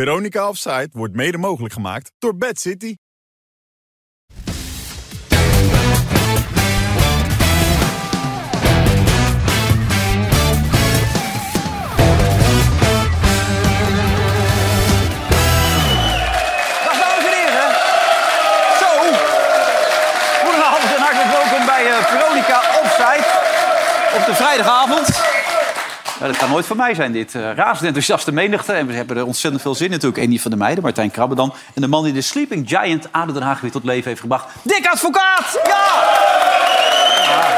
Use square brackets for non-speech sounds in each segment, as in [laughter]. Veronica Offside wordt mede mogelijk [laughs] gemaakt door Bad City. Dag dames en heren. Zo. Goedenavond en hartelijk welkom bij eh, Veronica Offside op de vrijdagavond. Ja, dat kan nooit van mij zijn, dit. Eh razend enthousiaste menigte. En we hebben er ontzettend veel zin in natuurlijk. En die van de meiden, Martijn Krabbe dan. En de man die de Sleeping Giant ADO Den Haag weer tot leven heeft gebracht. Dick Advocaat! Ja! Ja.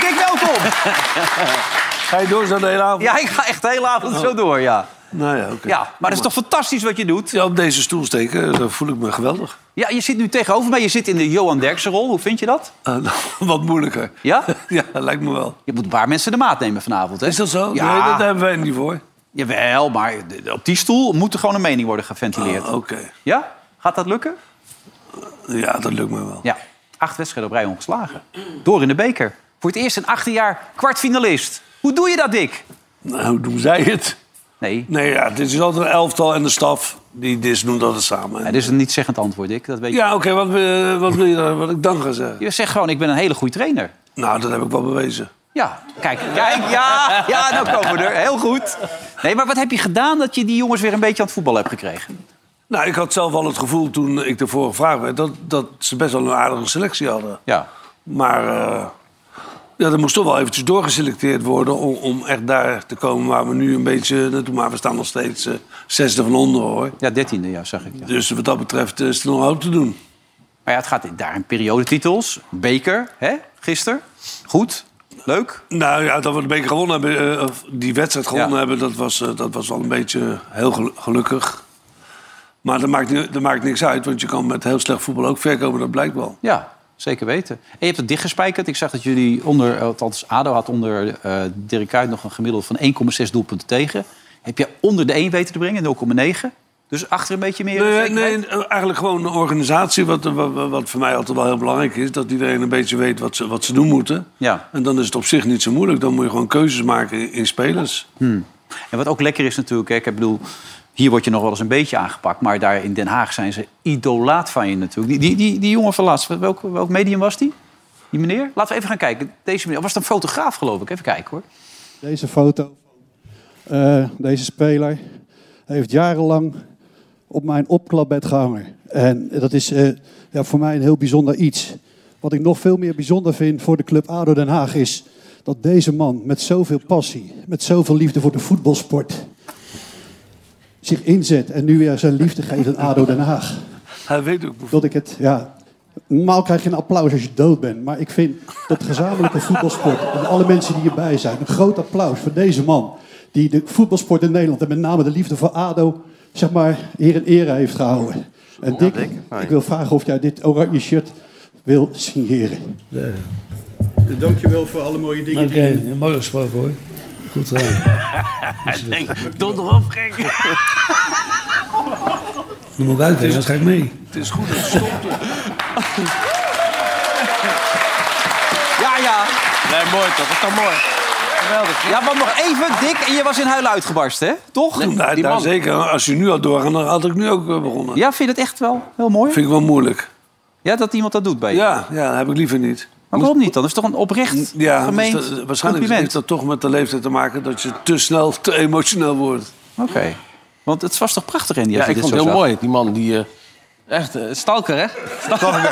Dick, welkom! [laughs] Ga je door zo'n hele avond? Ja, ik ga echt de hele avond zo door, ja. Nou ja, oké. Ja, maar dat is toch fantastisch wat je doet? Ja, op deze stoel steken, eh, dan voel ik me geweldig. Ja, je zit nu tegenover mij. Je zit in de Johan Derksen rol. Hoe vind je dat? Eh, [laughs] nou, wat moeilijker. Ja? [laughs] Ja, lijkt me wel. Je moet een paar mensen de maat nemen vanavond, hè? Is dat zo? Ja, Oh, Nee, dat hebben wij niet voor. jawel, maar d- op die stoel moet er gewoon een mening worden geventileerd. Ah, Oké. Ja? Gaat dat lukken? Ja, dat lukt me wel. Ja. Acht wedstrijden op rij ongeslagen. Door in de beker. Voor het eerst in 18 jaar kwartfinalist. Hoe doe je dat, Dick? Nou, hoe doen zij het? Nee, Nee, ja, dit is altijd een elftal en de staf. Die dit doen dat het samen. dat is een niet-zeggend antwoord, Dick. Dat weet je. Ja, oké, wat, wil- wat wil je dan, wat ik dan ga zeggen? Je zegt gewoon, ik ben een hele goede trainer. Nou, dat heb ik wel bewezen. Ja, kijk, kijk, ja, ja, nou komen we er. Heel goed. Nee, maar wat heb je gedaan dat je die jongens weer een beetje aan het voetbal hebt gekregen? Nou, Nou, ik had zelf al het gevoel toen ik ervoor gevraagd werd... dat, dat ze best wel een aardige selectie hadden. Ja. Maar eh, ja, er moest toch wel eventjes doorgeselecteerd worden om, om echt daar te komen waar we nu een beetje naartoe. Maar we staan nog steeds eh, zesde van onder hoor. Ja, dertiende, ja, zag ik. Ja. Dus wat dat betreft eh, is er nog hoop te doen. Maar ja, het gaat daar in periodetitels. Beker, hè, gisteren. Goed, leuk. Nou ja, dat we de beker gewonnen hebben, eh, of die wedstrijd gewonnen Ja. hebben, dat was, eh, dat was wel een beetje heel gelu- gelukkig. Maar dat maakt, ni- dat maakt niks uit, want je kan met heel slecht voetbal ook ver komen, dat blijkt wel. Ja, zeker weten. En je hebt het dichtgespijkerd. Ik zag dat jullie onder, althans ADO had onder eh Dirk Kuyt nog een gemiddelde van 1,6 doelpunten tegen. Heb je onder de 1 weten te brengen, 0,9. Dus achter een beetje meer Nee, zekerheid? Eh, nee, eigenlijk gewoon een organisatie, wat, wat, wat voor mij altijd wel heel belangrijk is, dat iedereen een beetje weet wat ze, wat ze doen moeten. Ja. En dan is het op zich niet zo moeilijk. Dan moet je gewoon keuzes maken in- in spelers. Hmm. En wat ook lekker is natuurlijk, hè, ik bedoel, hier word je nog wel eens een beetje aangepakt. Maar daar in Den Haag zijn ze idolaat van je natuurlijk. Die, die, die, die jongen van laatst, welk, welk medium was die? Die meneer? Laten we even gaan kijken. Deze meneer, was het een fotograaf geloof ik? Even kijken hoor. Deze foto van eh, deze speler heeft jarenlang op mijn opklapbed gehangen. En dat is eh, ja, voor mij een heel bijzonder iets. Wat ik nog veel meer bijzonder vind voor de club ADO Den Haag is... dat deze man met zoveel passie, met zoveel liefde voor de voetbalsport... zich inzet en nu weer zijn liefde geeft aan ADO Den Haag. Hij weet ook. Dat ik het, ja... Normaal krijg je een applaus als je dood bent. Maar ik vind dat gezamenlijke voetbalsport en alle mensen die hierbij zijn... een groot applaus voor deze man. Die de voetbalsport in Nederland en met name de liefde voor ADO... zeg maar, hier in ere heeft gehouden. En Dick, ik wil vragen of jij dit oranje shirt wil signeren. Dankjewel voor alle mooie dingen. Oké, mooi gesproken hoor. Goed eh, gedaan. [laughs] Dan moet ik uitkijken, dan ga ik mee. Het is goed, het stopt. Ja, ja. Nee, mooi toch? Dat is toch mooi? Ja, want nog even, Dick, en je was in huilen uitgebarsten, hè? Toch? daar, Die daar man. zeker. Als je nu had doorgaan, dan had ik nu ook eh, begonnen. Ja, vind je dat echt wel heel mooi? Vind ik wel moeilijk. Ja, dat iemand dat doet bij je. Ja, ja, heb ik liever niet. Maar waarom niet dan? Dat is toch een oprecht Ja, gemeend dus dat- waarschijnlijk heeft compliment? dat toch met de leeftijd te maken dat je te snel, te emotioneel wordt. Oké. Want het was toch prachtig, Andy? Ja, als je ik dit vond zo het heel zag? mooi. Die man die... eh, echt, eh, stalker, hè?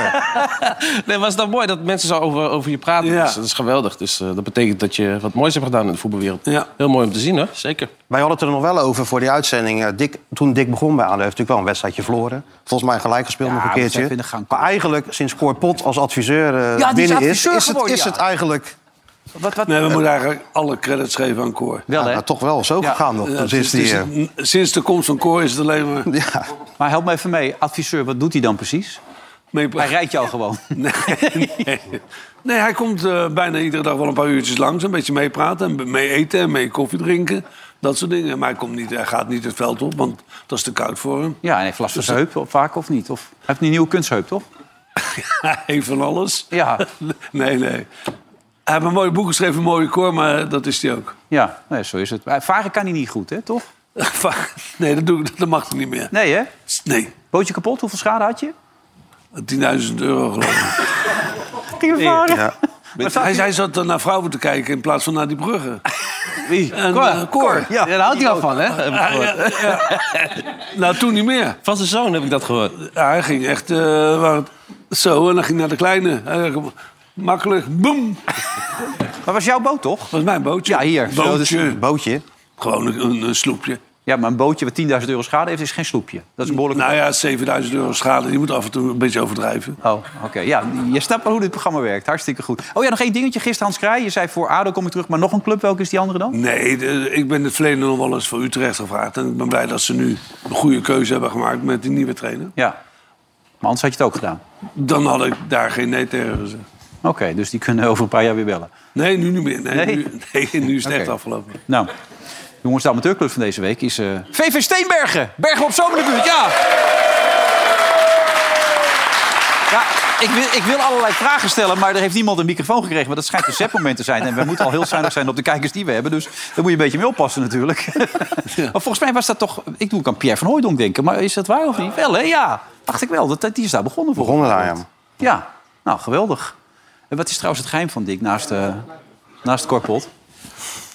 [laughs] nee, was dat mooi dat mensen zo over, over je praten. Ja. Dus dat is geweldig. Dus eh, dat betekent dat je wat moois hebt gedaan in de voetbalwereld. Ja. Heel mooi om te zien, hè? Zeker. Wij hadden het er nog wel over voor die uitzending. Eh, Dick, toen Dick begon bij ADO heeft natuurlijk wel een wedstrijdje verloren. Volgens mij gelijk gespeeld Ja, nog een we keertje. zijn in de gang. Maar eigenlijk, sinds Cor Pot als adviseur eh, die is binnen is... adviseur is, het, geworden, is ja. het eigenlijk Wat, wat... Nee, we moeten eigenlijk alle credits geven aan Koor. Wel, ja, hè? nou, toch wel zo Ja. gegaan nog. Ja, dus Dat is sinds, die, eh, sinds- sinds de komst van Koor is het alleen maar... ja. Maar help me even mee. Adviseur, wat doet hij dan precies? Mee... Hij rijdt jou gewoon. [laughs] Nee. nee, hij komt eh, bijna iedere dag wel een paar uurtjes langs. Een beetje meepraten, en mee eten en mee koffie drinken. Dat soort dingen. Maar hij, komt niet, hij gaat niet het veld op, want dat is te koud voor hem. Ja, en hij heeft last van Dus- zijn heup of- vaak of niet? Of... Hij heeft een nieuwe kunstheup, toch? Hij [laughs] heeft van alles. Ja. [laughs] Nee, nee. Hij [laughs] heeft een mooi boek geschreven, een mooie koor, maar dat is hij ook. Ja, nee, zo is het. Maar Varen kan hij niet goed, hè? Toch? nee, dat, doe ik, dat mag ik niet meer. Nee, hè? Nee, Bootje kapot, hoeveel schade had je? 10.000 euro geloof ik. Ging varen. [laughs] Ja. Hij, hij zat dan naar vrouwen te kijken in plaats van naar die bruggen. [laughs] Wie? En, Cor. eh, Cor. Ja, daar houdt hij wel van, hè? heb ik gehoord. [laughs] Nou, toen niet meer. Van zijn zoon heb ik dat gehoord. Ja, hij ging echt eh, waar het- zo en dan ging hij naar de kleine. Hij dacht, makkelijk, boem. [laughs] Maar was jouw boot toch? Dat was mijn bootje. Ja, hier. Zo, dat is- Bootje. Bootje. Gewoon een, een, een sloepje. Ja, maar een bootje wat 10.000 euro schade heeft, is geen sloepje. Dat is een behoorlijk... Nou ja, 7000 euro schade. Je moet af en toe een beetje overdrijven. Oh, oké. Ja, je snapt wel hoe dit programma werkt. Hartstikke goed. Oh ja, nog één dingetje. Gisteren Hans Kraaij, je zei voor ADO kom ik terug. Maar nog een club, welke is die andere dan? Nee, de- ik ben in het verleden nog wel eens voor Utrecht gevraagd. En ik ben blij dat ze nu een goede keuze hebben gemaakt met die nieuwe trainer. Ja. Maar anders had je het ook gedaan. Dan had ik daar geen nee tegen gezegd. Oké, dus die kunnen over een paar jaar weer bellen. Nee, nu niet meer. Nee, Nee? Nu, [laughs] nee, nu is het echt Oké. afgelopen. Nou, jongens, de amateurclub van deze week is... eh, VV Steenbergen! Bergen op Zoom in de buurt, ja! Ja, ik wil, ik wil allerlei vragen stellen, maar er heeft niemand een microfoon gekregen. Maar dat schijnt een zetmoment te zijn. En we moeten al heel zuinig zijn op de kijkers die we hebben. Dus daar moet je een beetje mee oppassen [laughs] natuurlijk. Maar volgens mij was dat toch... Ik doe aan Pierre van Hooijdonk denken, maar is dat waar of niet? Wel, hè? Ja, dacht ik wel. Dat, dat- die is daar begonnen voor. Begonnen daar, ja. Ja, nou, geweldig. En wat is trouwens het geheim van Dick naast, eh naast Korpot?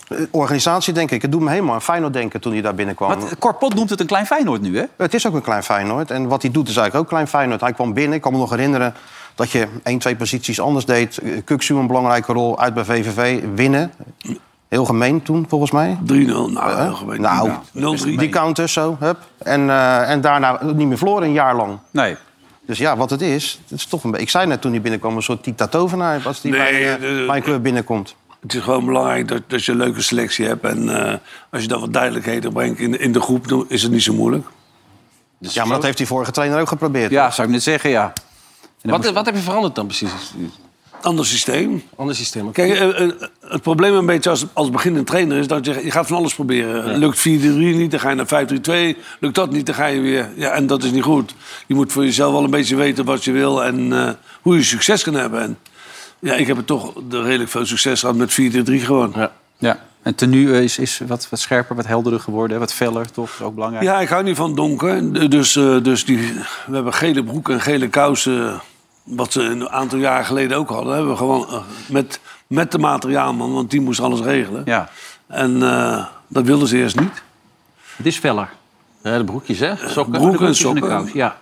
Eh, Organisatie, denk ik. Het doet me helemaal aan Feyenoord denken toen hij daar binnenkwam. Want Korpot noemt het een klein Feyenoord nu, hè? Het is ook een klein Feyenoord. En wat hij doet is eigenlijk ook klein Feyenoord. Hij kwam binnen. Ik kan me nog herinneren dat je één, twee posities anders deed. Eh, Kuksu een belangrijke rol uit bij VVV. Winnen. Heel gemeen toen, volgens mij. 3-0. Nou, heel gemeen. Nou, Die 0-3. counters zo. Hup. En, eh, en daarna niet meer verloren een jaar lang. Nee. Dus ja, wat het is, het is toch een beetje... Ik zei net toen hij binnenkwam, een soort Tita Tovenaar... als die bij, Nee, eh, eh, bij een club binnenkomt. Het is gewoon belangrijk dat, dat je een leuke selectie hebt. En eh, als je dan wat duidelijkheden brengt in, in de groep, dan is het niet zo moeilijk. Ja, maar dat heeft die vorige trainer ook geprobeerd. Ja, zou ik net zeggen, ja. Wat, wat heb je veranderd dan precies? Ander systeem. Ander systeem. oké. Kijk, eh, eh, het probleem een beetje als, als beginnend trainer is dat je, je gaat van alles proberen. Lukt 4-3 niet, dan ga je naar 5-3-2. Lukt dat niet, dan ga je weer. Ja, en dat is niet goed. Je moet voor jezelf wel een beetje weten wat je wil en eh, hoe je succes kan hebben. En, ja, ik heb er toch de- redelijk veel succes gehad met 4-3 gewoon. Ja. Ja. En tenue eh, is, is wat, wat scherper, wat helderder geworden, hè? wat feller, toch? is ook belangrijk. ik hou niet van donker. D- Dus, eh, dus die, we hebben gele broek en gele kousen. Wat ze een aantal jaren geleden ook hadden. Hebben we gewoon eh, met, met de materiaalman, want die moest alles regelen. Ja. En eh, dat wilden ze eerst niet. Het is feller. Ja, de broekjes, hè? Sokken. broek- Broeken en De broekjes de sokken. kous, Ja,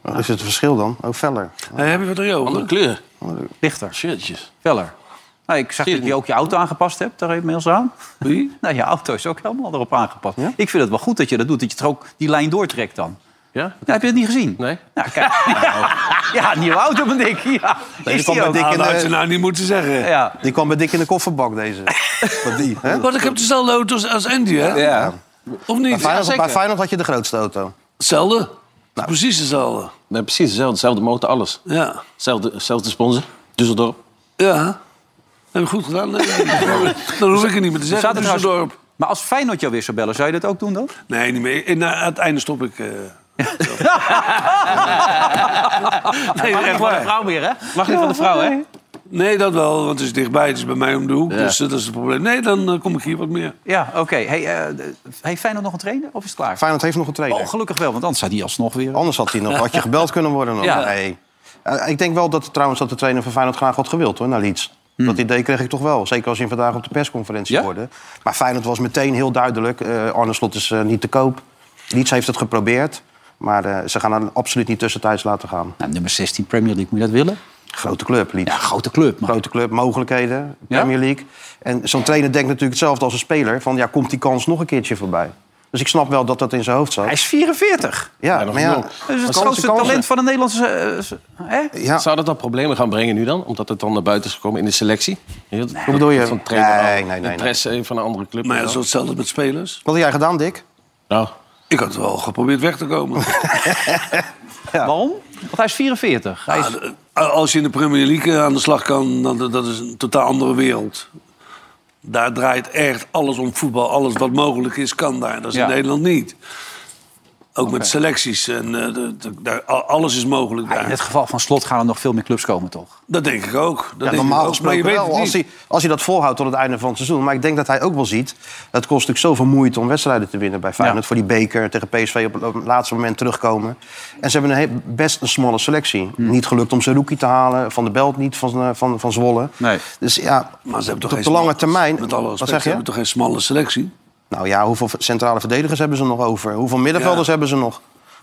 Wat is het verschil dan? Ook feller. Hey, heb je wat er Andere over? kleur. lichter, Shirtjes. feller. Nou, ik zag Zie je dat je ook je auto aangepast hebt, daar inmiddels aan. Wie? [laughs] Nou, je auto is ook helemaal erop aangepast. Ik vind het wel goed dat je dat doet, dat je toch ook die lijn doortrekt dan. Ja? Nou, heb je dat niet gezien? Nee? Nou, kijk. [laughs] ja, nieuwe auto van Dick. Ja, is kwam die bij ook. Dick Ah, in dat de- had je nou niet moeten zeggen. Ja. Die kwam bij dik in de kofferbak, [laughs] deze. Wat die, hè? Want ik heb dezelfde auto's als Andy, hè? Ja. Of niet? Feyenoord- zeker. bij Feyenoord had je de grootste auto. Hetzelfde. Precies hetzelfde. Nee, precies hetzelfde. Hetzelfde motor, alles. Ja. Hetzelfde, hetzelfde sponsor. Düsseldorp. Ja. Heb ik goed gedaan? Nee, dan hoef ik het niet meer te zeggen. Zaten trouwens- Düsseldorp. Maar als Feyenoord jou weer zou bellen, zou je dat ook doen dan? Nee, niet meer. En, eh, aan het einde stop ik. eh, zelf. nee, echt waar. vrouw meer, hè? Mag niet van de vrouw, hè? Nee, dat wel, want het is dichtbij. Het is bij mij om de hoek. Ja. Dus eh, dat is het probleem. Nee, dan eh, kom ik hier wat meer. Ja, oké. Hey, eh, heeft Feyenoord nog een trainer of is het klaar? Feyenoord heeft nog een trainer. Oh, gelukkig wel, want anders staat hij alsnog weer. Anders had, hij nog, had je gebeld kunnen worden. Nog. Ja. Nee. Eh, ik denk wel dat, trouwens, dat de trainer van Feyenoord graag had gewild hoor, naar Leeds. Dat idee kreeg ik toch wel. Zeker als je hem vandaag op de persconferentie Hmm. Ja? hoorde. Maar Feyenoord was meteen heel duidelijk. eh Arne Slot is eh, niet te koop. Leeds heeft het geprobeerd. Maar eh, ze gaan hem absoluut niet tussentijds laten gaan. Nou, nummer 16 Premier League, moet je dat willen? Grote club, Leeds. Ja, grote club, man. Grote club, mogelijkheden, Ja? Premier League. En zo'n trainer denkt natuurlijk hetzelfde als een speler. Van, ja, komt die kans nog een keertje voorbij? Dus ik snap wel dat dat in zijn hoofd zat. Hij is 44. Ja, maar ja, Dus Dat is het kansen, grootste kansen. talent van de Nederlandse... eh, s- hè? Ja. Zou dat dan problemen gaan brengen nu dan? Omdat het dan naar buiten is gekomen in de selectie? Hoe Hoe bedoel je? Van trainer Nee, aan, nee, nee, nee. interesse eh, van een andere club. Maar ja, dat en is zo. hetzelfde met spelers. Wat had jij gedaan, Dick? Nou, Ik had wel geprobeerd weg te komen. Waarom? Want hij is Ah, 44. Hij is... Ja, Ah, de- Als je in de Premier League eh, aan de slag kan, dan, dat is een totaal andere wereld. Daar draait echt alles om voetbal. Alles wat mogelijk is, kan daar. Dat is Ja. in Nederland niet. Ook met selecties. En, eh, de- de- daar- a- alles is mogelijk Maar daar. in het geval van Slot gaan er nog veel meer clubs komen, toch? Dat denk ik ook. Dat denk Ja, ik normaal ook. Maar je gesproken weet wel, het niet. als hij, als hij dat volhoudt tot het einde van het seizoen. Maar ik denk dat hij ook wel ziet... het kost natuurlijk zoveel moeite om wedstrijden te winnen bij Feyenoord. Ja. Voor die beker, tegen PSV op het laatste moment terugkomen. En ze hebben een he- best een smalle selectie. Hm. Niet gelukt om zijn rookie te halen. Van de Belt niet, van, eh, van, van Zwolle. Nee. Dus ja, Maar ze hebben op toch de geen lange smalle- termijn... Met alle wat respect, zeg ze je? hebben toch geen smalle selectie? Nou ja, hoeveel centrale verdedigers hebben ze nog over? Hoeveel middenvelders Ja. hebben ze nog?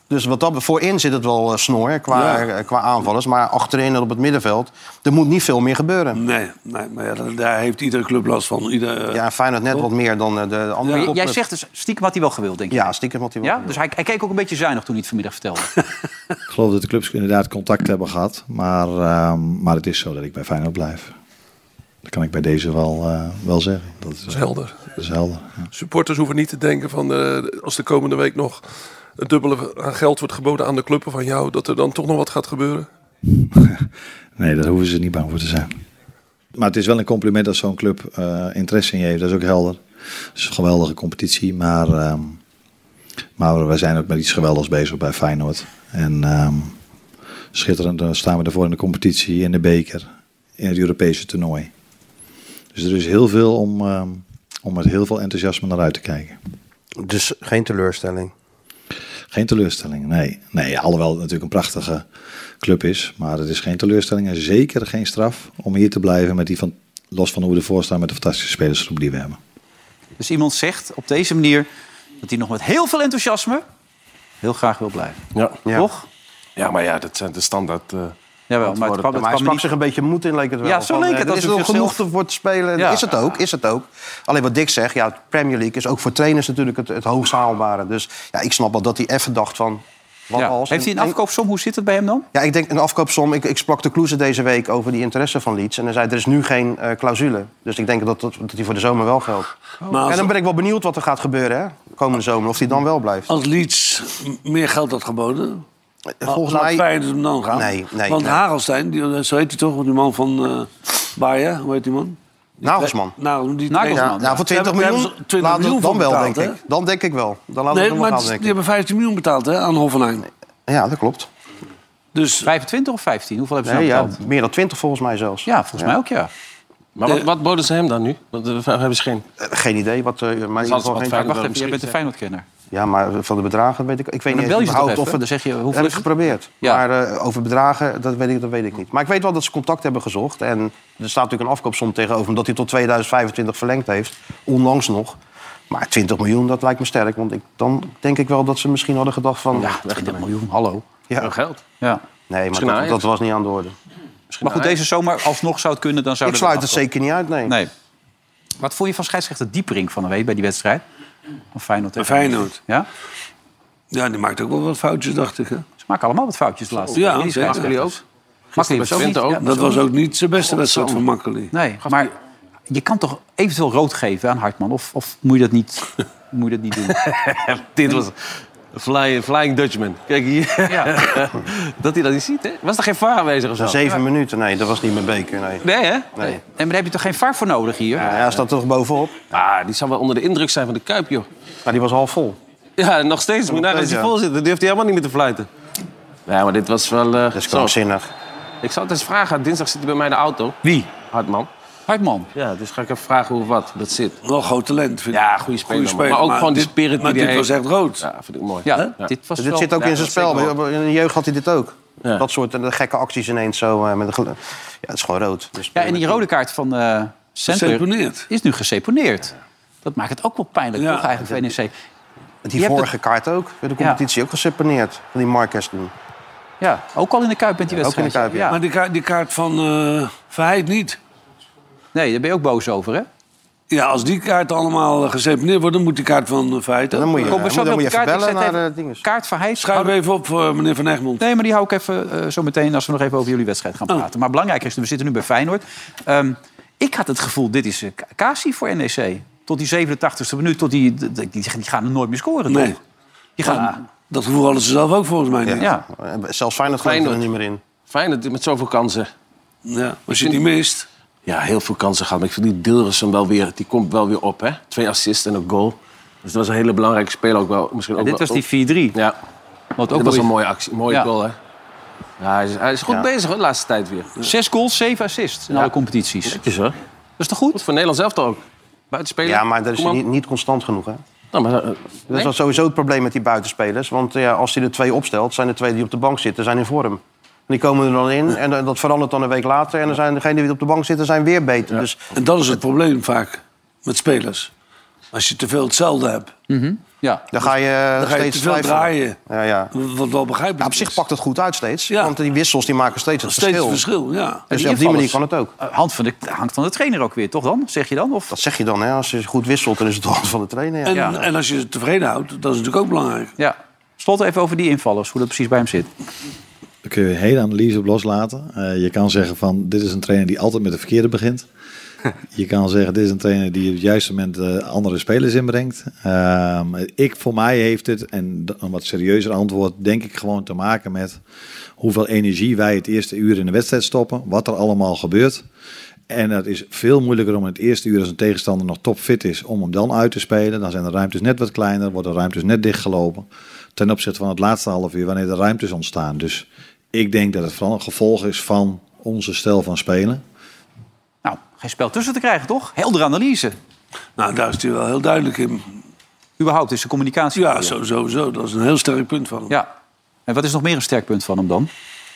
Dus wat dat, voorin zit het wel eh, snor qua, Ja. eh, qua aanvallers. Maar achterin en op het middenveld, er moet niet veel meer gebeuren. Nee, nee maar ja, daar- daar heeft iedere club last van. Ieder, eh, Ja, Feyenoord net wat meer dan eh, de andere J- Jij topclubs. zegt dus stiekem had hij wel gewild, denk ik. Ja, stiekem wat hij wel Ja? wil. Dus hij, hij keek ook een beetje zuinig toen hij het vanmiddag vertelde. [laughs] Ik geloof dat de clubs inderdaad contact hebben gehad. Maar, ehm, maar het is zo dat ik bij Feyenoord blijf. Dat kan ik bij deze wel, eh, wel zeggen. Dat is, is helder. dat is helder. ja. Supporters hoeven niet te denken van eh, als de komende week nog het dubbele aan geld wordt geboden aan de club van jou, dat er dan toch nog wat gaat gebeuren. Nee, daar hoeven ze niet bang voor te zijn. Maar het is wel een compliment dat zo'n club eh, interesse in je heeft. Dat is ook helder. Het is een geweldige competitie. Maar, ehm, maar wij zijn ook met iets geweldigs bezig bij Feyenoord. En ehm, schitterend eh, staan we ervoor in de competitie, in de beker, in het Europese toernooi. Dus er is heel veel om, ehm, om met heel veel enthousiasme naar uit te kijken. Dus geen teleurstelling. Geen teleurstelling, nee. Nee, alhoewel het natuurlijk een prachtige club is. Maar het is geen teleurstelling en zeker geen straf om hier te blijven met die van, los van hoe we ervoor staan met de fantastische spelersgroep die we hebben. dus iemand zegt op deze manier dat hij nog met heel veel enthousiasme heel graag wil blijven. Ja. [laughs] Ja. Toch? ja, maar ja, dat zijn de standaard. eh, Jawel, maar het kwam, het maar hij kwam sprak niet... zich een beetje moed in, leek het wel. Ja, zo Van, leek eh, het, Er alsof is wel hij genoeg zichzelf- voor te spelen. Ja. Is het ook, is het ook. Alleen wat Dick zegt, ja, Premier League is ook voor trainers natuurlijk het, het hoogst haalbare. Dus ja, ik snap wel dat hij even dacht van... Wat Ja. als? Heeft hij een En- afkoopsom? Hoe zit het bij hem dan? Ja, ik denk een afkoopsom. Ik, ik sprak de Kloeze deze week over die interesse van Leeds. En hij zei, er is nu geen eh, clausule. Dus ik denk dat, dat, dat die voor de zomer wel geldt. Oh. maar als, En dan ben ik wel benieuwd wat er gaat gebeuren, hè. Komende zomer, of die dan wel blijft. als Leeds m- meer geld had geboden... Eh, Volgens laat mij... Feyenoord hem dan gaan. Nee, nee, Want nee. Hagelstein, die, eh, zo heet hij toch? Die man van eh Bayer, hoe heet die man? Nagelsman. Nagelsman. Die Nagelsman. Ja, man. nou, voor 20 Daar hebben- miljoen, daar hebben ze 20 laten we miljoen dan voor wel, betaald, denk hè? ik. Dan denk ik wel. Dan laten we Nee, het maar nog het wel gaan, is- die denk ik. hebben 15 miljoen betaald hè, aan Hoffenheim. Ja, dat klopt. Dus 25 of 15? Hoeveel hebben ze Nee, nou ja, betaald? meer dan 20 volgens mij zelfs. Ja, volgens mij ook, ja. Maar Eh, wat, wat boden ze hem dan nu? Wat, eh, hebben ze geen? Eh, Geen idee. Wat, eh, maar in ieder geval wat geen- fijn. Wacht wel even, jij bent een misschien- Feyenoord-kenner. Ja, maar van de bedragen weet ik... Ik weet dan niet bel je ze toch überhaupt even? of we- Dan zeg je, hoeveel Dat heb is ik het? geprobeerd. Ja. Maar eh, over bedragen, dat weet, ik, dat weet ik niet. Maar ik weet wel dat ze contact hebben gezocht. En er staat natuurlijk een afkoopsom tegenover... omdat hij tot 2025 verlengd heeft. Onlangs nog. Maar 20 miljoen, dat lijkt me sterk. Want ik, dan denk ik wel dat ze misschien hadden gedacht van... Ja, 20 miljoen, hallo. ja. Veel geld. Ja. Nee, maar Misschien dat, Ajax. dat was niet aan de orde. Maar goed, deze zomer, alsnog zou het kunnen, dan zou Ik sluit het zeker niet uit, nee. Nee. Wat vond je van scheidsrechter Diepering van de week bij die wedstrijd? Van Feyenoord? tegen- Feyenoord. Ja? Ja, die maakt ook wel wat foutjes, dacht ik. Hè? Ze maken allemaal wat foutjes de laatste Ja, tijd, die zeker. scheidsrechters. Makkeli was ook Twente niet- ook. ja, Dat was ook niet zijn beste wedstrijd voor Makkeli. Nee, maar je kan toch eventueel rood geven aan Hartman? Of, of moet, je dat niet, moet je dat [laughs] niet doen? [laughs] Dit was fly, Flying Dutchman. Kijk hier. Ja. [laughs] dat hij dat niet ziet, hè? Was er geen vaar aanwezig of zo? Zeven minuten, nee, dat was niet mijn beker, nee. Nee, hè? nee. En daar heb je toch geen VAR voor nodig hier? Ja, hij staat toch bovenop? Ah, die zou wel onder de indruk zijn van de Kuip, joh. Maar die was half vol. Ja, nog steeds. Moet je nagaan als hij Ja. vol zit, dan durft hij helemaal niet meer te fluiten. Ja, maar dit was wel... eh, Dat is zo. krankzinnig. Ik zal het eens vragen. Dinsdag zit hij bij mij in de auto. Wie? Hartman. Hartman. Ja, dus ga ik even vragen hoe of wat dat zit. Wel groot talent, vind ik. Ja, goede speler, Goeie maar ook gewoon die dit- spirit die Maar hij dit heeft. was echt rood. Ja, vind ik mooi. Ja, dit was Dus wel- dit zit ook Ja, in zijn spel. zeker In de jeugd had hij dit ook. Ja. Dat soort eh, gekke acties ineens zo. eh, met een gele- ja, het is gewoon rood. Dus Ja, en die rode kaart van eh Center Geseponeerd. is nu geseponeerd. Dat maakt het ook wel pijnlijk, Ja. toch, eigenlijk, E voor NEC? Die, hebt vorige kaart ook. Bij de competitie ook geseponeerd. Van die Marquez toen. Ja, ook al in de Kuip bent die Ja, ook in wedstrijd. de Kuip, ja. Maar die kaart, die kaart van eh Verheid niet. Nee, daar ben je ook boos over, hè? Ja, als die kaart allemaal eh, geseponeerd wordt, dan moet die kaart van eh, Verheid Dan ook. moet je, Kom, we dan zo moet- dan weer op moet je de even kaart. Ik bellen zet naar even eh, dinges. Kaart van Heijs. Schuif even op voor meneer Van Egmond. Oh. Nee, maar die hou ik even eh, zo meteen als we nog even over jullie wedstrijd gaan praten. Maar belangrijk is, we zitten nu bij Feyenoord. Ehm, ik had het gevoel, dit is eh, K- Kasi voor NEC. Tot die 87e minuut, tot die, die, die, die gaan er nooit meer scoren, Nee. toch? Die gaan... Ja. Dat gevoel hadden ze zelf ook volgens mij niet. Ja. Ja. Eh, Zelfs Feyenoord gelooft er Feyenoord. niet meer in. Fijn dat hij met zoveel kansen... Als je die mist. Ja, heel veel kansen gehad. Maar ik vind die Dilrussen wel weer... Die komt wel weer op, hè? Twee assists en een goal. Dus dat was een hele belangrijke speler ook wel. Misschien ook dit wel- was die 4-3. Ja. Wat dat ook was wel een iets- mooie actie, mooie Ja. goal, hè? Ja, hij, is, hij is goed Ja. bezig hoor, de laatste tijd weer. Zes goals, zeven assists in alle competities. Netjes hoor. Dat is toch goed? voor Nederland zelf toch ook? Buitenspelen. Ja, maar dat is Kom op. niet, niet constant genoeg, hè? Nou, maar, eh, Dat is nee? wel sowieso het probleem met die buitenspelers. Want ja, als hij er twee opstelt, zijn er twee die op de bank zitten, zijn in vorm. En die komen er dan in en eh, dat verandert dan een week later. En dan zijn degenen die op de bank zitten, zijn weer beter. Dus En dat is het probleem vaak met spelers. Als je te veel hetzelfde hebt, Mhm. Ja. dan ga je eh, dan ga je steeds te veel twijfelen. draaien. Ja, ja. Wat wel begrijpelijk Ja, op zich pakt het goed uit steeds. Ja. Want die wissels die maken steeds het Steeds verschil. verschil, ja. Dus die op die manier invallers. kan het ook. Eh, Hand van de, hangt van de trainer ook weer, toch dan? Zeg je dan? Of? Dat zeg je dan, hè? Als je goed wisselt, dan is het de hand van de trainer. Ja. En, en als je het tevreden houdt, dat is natuurlijk ook belangrijk. Ja. Slot even over die invallers, hoe dat precies bij hem zit. Daar kun je een hele analyse op loslaten. Eh, je kan zeggen van dit is een trainer die altijd met de verkeerde begint. Je kan zeggen dit is een trainer die op het juiste moment eh, andere spelers inbrengt. Ehm, ik voor mij heeft het, en d- een wat serieuzer antwoord, denk ik gewoon te maken met hoeveel energie wij het eerste uur in de wedstrijd stoppen. Wat er allemaal gebeurt. En het is veel moeilijker om in het eerste uur als een tegenstander nog topfit is om hem dan uit te spelen. Dan zijn de ruimtes net wat kleiner, worden de ruimtes net dichtgelopen. Ten opzichte van het laatste half uur wanneer de ruimtes ontstaan. Dus ik denk dat het vooral een gevolg is van onze stijl van spelen. Nou, geen spel tussen te krijgen, toch? Heldere analyse. Nou, daar is hij wel heel duidelijk in. Überhaupt is de communicatie. Ja, zo- sowieso. Dat is een heel sterk punt van hem. Ja. En wat is nog meer een sterk punt van hem dan?